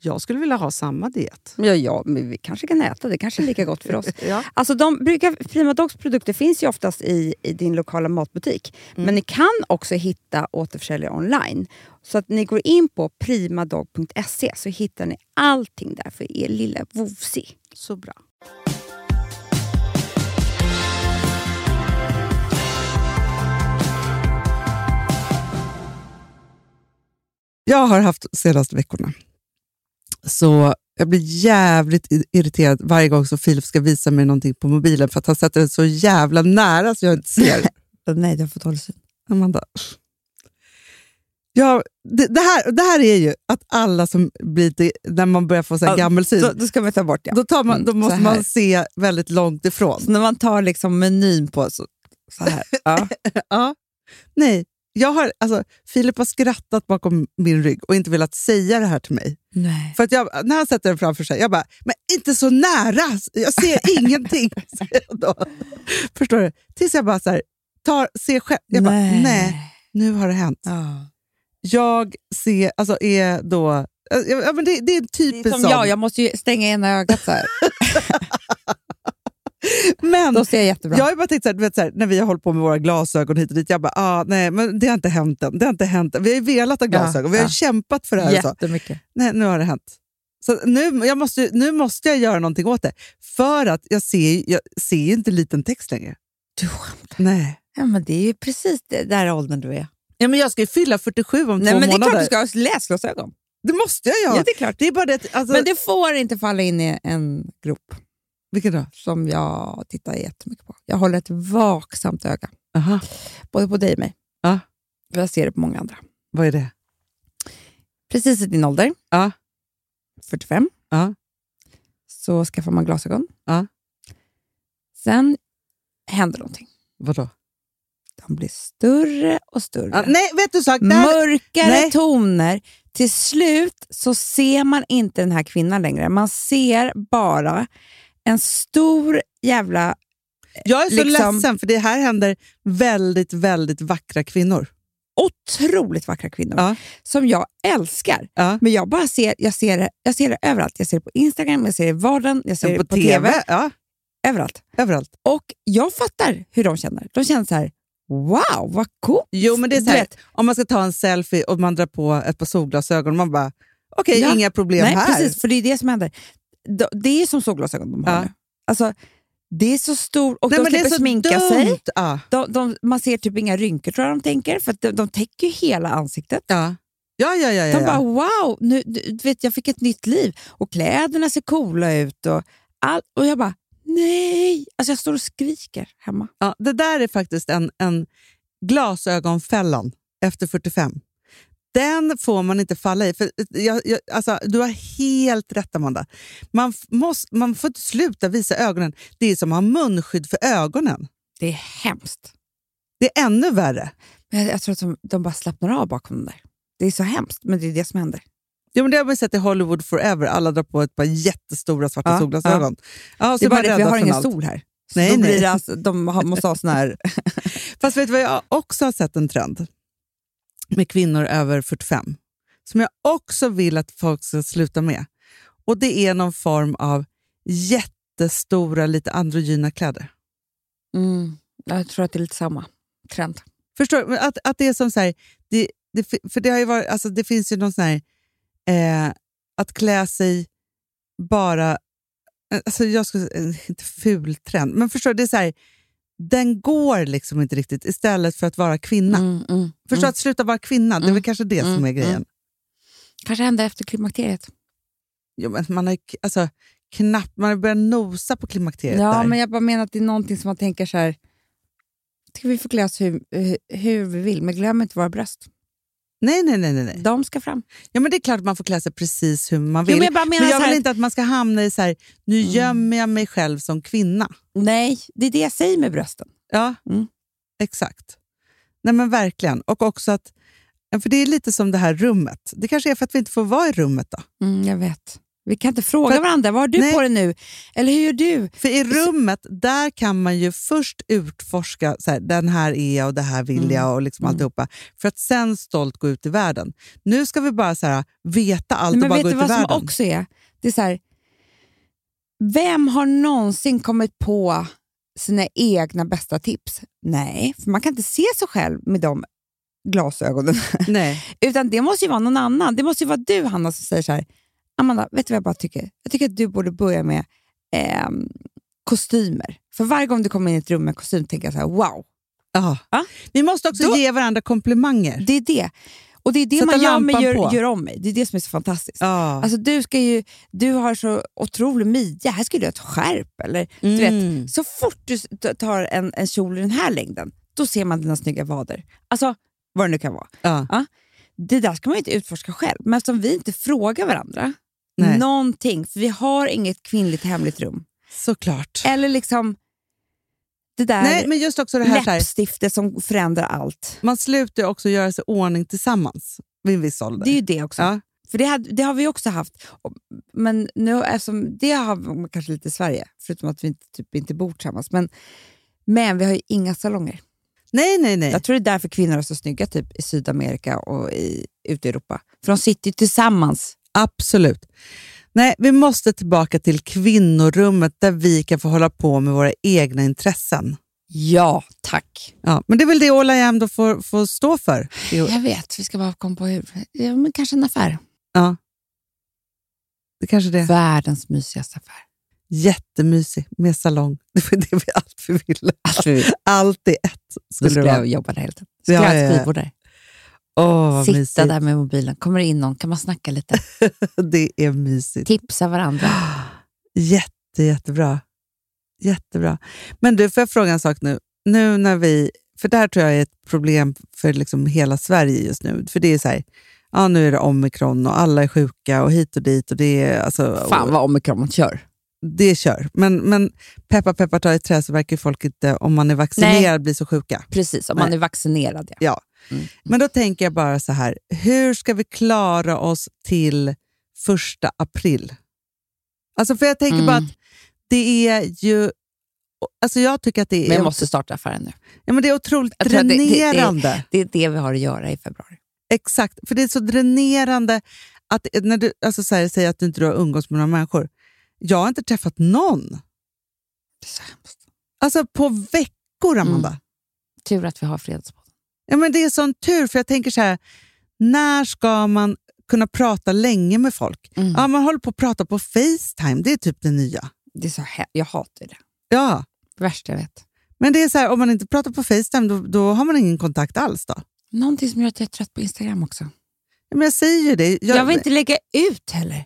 C: Jag skulle vilja ha samma diet.
D: ja, ja, men vi kanske kan äta. Det kanske är lika gott för oss.
C: Ja.
D: Alltså de brukar, Prima Dogs produkter finns ju oftast i, i din lokala matbutik.
F: Mm.
D: Men ni kan också hitta återförsäljare online. Så att ni går in på primadog.se så hittar ni allting där för er lilla vovsi.
C: Så bra. Jag har haft de senaste veckorna, så jag blir jävligt i- irriterad varje gång som Filip ska visa mig någonting på mobilen för att han sätter den så jävla nära så jag inte ser.
D: Nej, du har fått hålla sig.
C: Amanda. Ja, det, det, här, det här är ju att alla som blir, lite- när man börjar få så här
D: Ja,
C: gammelsyn,
F: Då, då ska man ta bort det.
C: då, tar man, då
F: Mm, så
C: måste
F: här.
C: man se väldigt långt ifrån.
F: Så när man tar liksom menyn på så, så här. Ja.
C: Ja. Nej, jag har, alltså, Filip har skrattat bakom min rygg och inte velat säga det här till mig.
F: Nej.
C: För att jag, när han sätter den framför sig, jag bara, men inte så nära! Jag ser ingenting! säger jag då. Förstår du? Tills jag bara så här, tar, ser själv. Jag bara, nej. nu har det hänt.
F: Ja.
C: Jag ser, alltså är då... Ja, men det, det är en
F: Det är
C: typisk
F: som
C: sån.
F: jag, jag måste ju stänga ena ögat så här.
C: men,
F: Då ser jag jättebra.
C: Jag har ju bara tänkt så här, du vet, så här, när vi har hållit på med våra glasögon hit och dit, jag bara, ah, nej, men det har inte hänt än. Det har inte hänt än. Vi har ju velat ha glasögon, vi har
F: ja.
C: ju kämpat för det här. Och så.
F: Jättemycket.
C: Nej, nu har det hänt. Så nu, jag måste, nu måste jag göra någonting åt det, för att jag ser, jag ser ju inte liten text längre.
D: Du skämtar.
C: Nej.
D: Ja, men det är ju precis det där åldern du är.
C: Ja, men jag ska ju fylla 47 om
D: Nej,
C: två
D: men det är
C: månader.
D: klart du ska ha läsglasögon.
C: Det måste jag
D: Ja.
C: göra.
D: det är klart.
C: det är bara det att- alltså,
D: Men du får inte falla in i en grop
C: Vilken då?
D: som jag tittar jättemycket på. Jag håller ett vaksamt öga,
C: Aha,
D: både på dig och mig.
C: Ja.
D: För Jag ser det på många andra.
C: vad är det?
D: Precis i din ålder,
C: Ja.
D: 45,
C: Ja.
D: så skaffar man glasögon.
C: Ja.
D: Sen händer någonting.
C: Vadå?
D: De blir större och större.
C: Ah, nej, vet du en sak? Det här,
D: Mörkare
C: Nej.
D: toner. Till slut så ser man inte den här kvinnan längre. Man ser bara en stor jävla...
C: jag är så
D: liksom-
C: ledsen, för det här händer väldigt, väldigt vackra kvinnor.
D: Otroligt vackra kvinnor
C: Ja.
D: som jag älskar.
C: Ja.
D: Men jag bara ser, jag ser, det, jag ser det överallt. Jag ser det på Instagram, jag ser det i vardagen, jag ser det på TV.
C: Ja,
D: Överallt.
C: överallt.
D: Och jag fattar hur de känner. De känner så här, wow, vad coolt.
C: Jo, men det är så
D: Du
C: här,
D: vet.
C: om man ska ta en selfie och man drar på ett par solglasögon, man bara, okej,
D: Ja.
C: inga problem
D: Nej,
C: här.
D: precis, för det är det som händer. De- Det är som solglasögon de har
C: Ja.
D: nu. Alltså, det är så stort och
C: Nej,
D: de
C: men det är
D: slipper
C: så
D: sminka
C: dumt.
D: sig.
C: Ja.
D: De, de, man ser typ inga rynkor tror jag de tänker, för att de, de täcker ju hela ansiktet.
C: Ja, ja, ja. ja,
D: De
C: ja, ja.
D: bara wow, nu, du du vet, jag fick ett nytt liv och kläderna ser coola ut. Och, all, och jag bara nej, alltså jag står och skriker hemma.
C: Ja, det där är faktiskt en, en glasögonfällan efter 45. Den får man inte falla i. För jag, jag, alltså, du har helt rätt, Amanda. Man, f- måste, man får inte sluta visa ögonen. Det är som att ha munskydd för ögonen.
D: Det är hemskt.
C: Det är ännu värre.
D: Men jag, jag tror att de, de bara slappnar av bakom den där. Det är så hemskt, men det är det som händer.
C: Ja, men det har man ju sett i Hollywood Forever. Alla drar på ett par jättestora svarta
D: Ja,
C: solglasögon. Ja. och så
D: det är bara
C: man
D: det att vi
C: rädda
D: har
C: för
D: ingen
C: allt.
D: sol här. Så
C: Nej,
D: då
C: nej.
D: blir det alltså, de har, måste ha såna här...
C: Fast vet du vad jag också har sett en trend med kvinnor över 45 som jag också vill att folk ska sluta med. Och Det är någon form av jättestora, lite androgyna kläder.
D: Mm, jag tror att det är lite samma trend.
C: Förstår du? Men Att, att det är som så här, det, det, fi- för det, har ju varit, alltså det finns ju någon sån här, eh, att klä sig bara, alltså jag skulle eh, inte ful trend, men förstår du, det är så här, den går liksom inte riktigt istället för att vara kvinna.
D: Mm, mm.
C: Förstå att sluta vara kvinna, det är väl kanske det som är
D: Mm.
C: grejen.
D: Kanske händer efter klimakteriet.
C: Jo, men man har ju k- alltså, knappt, man har börjat nosa på klimakteriet
D: Ja,
C: där.
D: men jag bara menar att det är någonting som man tänker så här... Ska vi få klä oss hur, hur, hur vi vill, men glöm inte våra bröst.
C: Nej, nej, nej, nej, nej.
D: De ska fram.
C: Ja, men det är klart att man får klä sig precis hur man
D: Mm. Jo,
C: vill.
D: men jag bara menar
C: men jag
D: så
C: vill
D: här,
C: inte att man ska hamna i så här, nu
D: Mm.
C: gömmer jag mig själv som kvinna.
D: Nej, det är det jag säger med brösten.
C: Ja,
D: Mm.
C: exakt. Nej, men verkligen. Och också att, ja, för det är lite som det här rummet. Det kanske är för att vi inte får vara i rummet då.
D: Mm, jag vet. Vi kan inte fråga
C: För-
D: varandra. Vad har du
C: Nej.
D: på dig nu? Eller hur gör du?
C: För i rummet, där kan man ju först utforska, så här, den här är jag och det här
D: Mm.
C: vill jag och liksom alltihopa. För att sen stolt gå ut i världen. Nu ska vi bara så här, veta allt
D: Nej,
C: och
D: men
C: bara
D: vet
C: gå
D: du
C: ut i
D: vad
C: världen.
D: som också är? Det är så här, vem har någonsin kommit på sina egna bästa tips? Nej, för man kan inte se sig själv med de glasögonen.
C: Nej.
D: Utan det måste ju vara någon annan. Det måste ju vara du, Hanna, som säger så här. Amanda, vet du vad jag bara tycker? Jag tycker att du borde börja med ehm, kostymer. För varje gång du kommer in i ett rum med en kostym tänker jag så här, wow.
C: Ja.
D: Ja.
C: Vi måste också
D: Då-
C: ge varandra komplimanger.
D: Det är det. Och det är det
C: Sätta
D: man gör, med
C: lampan
D: gör,
C: på.
D: gör om mig. Det är det som är så fantastiskt.
C: Ja.
D: Alltså, du, ska ju, du har så otrolig midja, här skulle du ha ett skärp. Eller, du vet,
C: Mm.
D: så fort du s- t- tar en, en kjol i den här längden, då ser man dina snygga vader. Alltså, vad det nu kan vara.
C: Ja.
D: Det där ska man ju inte utforska själv, men eftersom vi inte frågar varandra
C: Nej.
D: någonting, för vi har inget kvinnligt hemligt rum.
C: Såklart.
D: Eller liksom det där
C: Nej, men just också det här, så här
D: läppstiftet som förändrar allt.
C: man slutar ju också göra sig i ordning tillsammans vid en viss ålder.
D: Det är ju det också.
C: Ja.
D: För det, hade, det har vi också haft. Och- Men nu, eftersom det har man kanske lite i Sverige, förutom att vi inte, typ, inte bor tillsammans. Men, men vi har ju inga salonger.
C: Nej, nej, nej.
D: Jag tror det är därför kvinnor är så snygga typ, i Sydamerika och i, ute i Europa. För de sitter ju tillsammans.
C: Absolut. Nej, vi måste tillbaka till kvinnorummet där vi kan få hålla på med våra egna intressen.
D: Ja, tack.
C: Ja, men det är väl det Ola Jäm då får, får stå för.
D: Jag vet, vi ska bara komma på hur. Ja, men kanske en affär.
C: Ja. Det kanske det är.
D: Världens mysigaste affär.
C: Jättemysig med salong. Det var det vi allt vi ville.
D: Allt vi ville.
C: Allt i ett
D: Då
C: skulle det
D: skulle
C: vara.
D: jag jobba där hela tiden. Skulle
C: Ja,
D: ha
C: ja,
D: ett
C: ja.
D: skrivbord där.
C: Åh, vad
D: Sitta
C: mysigt.
D: där med mobilen. Kommer det in någon kan man snacka lite.
C: Det är mysigt.
D: Tipsa varandra.
C: Jätte, jättebra. Jättebra. Men du, får jag fråga en sak nu? Nu när vi, för det här tror jag är ett problem för liksom hela Sverige just nu. För det är så här, ja nu är det omikron och alla är sjuka och hit och dit och det är alltså...
D: Fan vad omikron man kör.
C: det kör. Men, men peppa peppa ta i trä så verkar ju folk inte, om man är vaccinerad, bli så sjuka.
D: Precis, om man
C: Nej.
D: är vaccinerad. Ja. Mm.
C: Men då tänker jag bara så här, hur ska vi klara oss till första april? Alltså för jag tänker
D: Mm.
C: bara att det är ju... Alltså jag tycker att det
D: Men
C: är,
D: jag måste starta affären nu.
C: ja, men det är otroligt
D: Jag tror att det- det- det-
C: dränerande.
D: Det är det vi har att göra i februari.
C: Exakt, för det är så dränerande att när du alltså så här, säger att du inte har umgås med några människor. Jag har inte träffat någon.
D: Det är så hemskt.
C: Alltså på veckor, Amanda.
D: Tur att vi har fredspodden.
C: Ja, men det är sån tur, för jag tänker så här, när ska man kunna prata länge med folk?
D: Mm.
C: Ja, man håller på att prata på Facetime, det är typ det nya.
D: Det är så he- jag hatar det.
C: Ja,
D: Det värsta jag vet.
C: men det är så här, om man inte pratar på Facetime, då, då har man ingen kontakt alls. då.
D: Någonting som gör att jag är trött på Instagram också.
C: Ja, Men jag säger ju det.
D: Jag,
C: Jag,
D: vill inte lägga ut heller.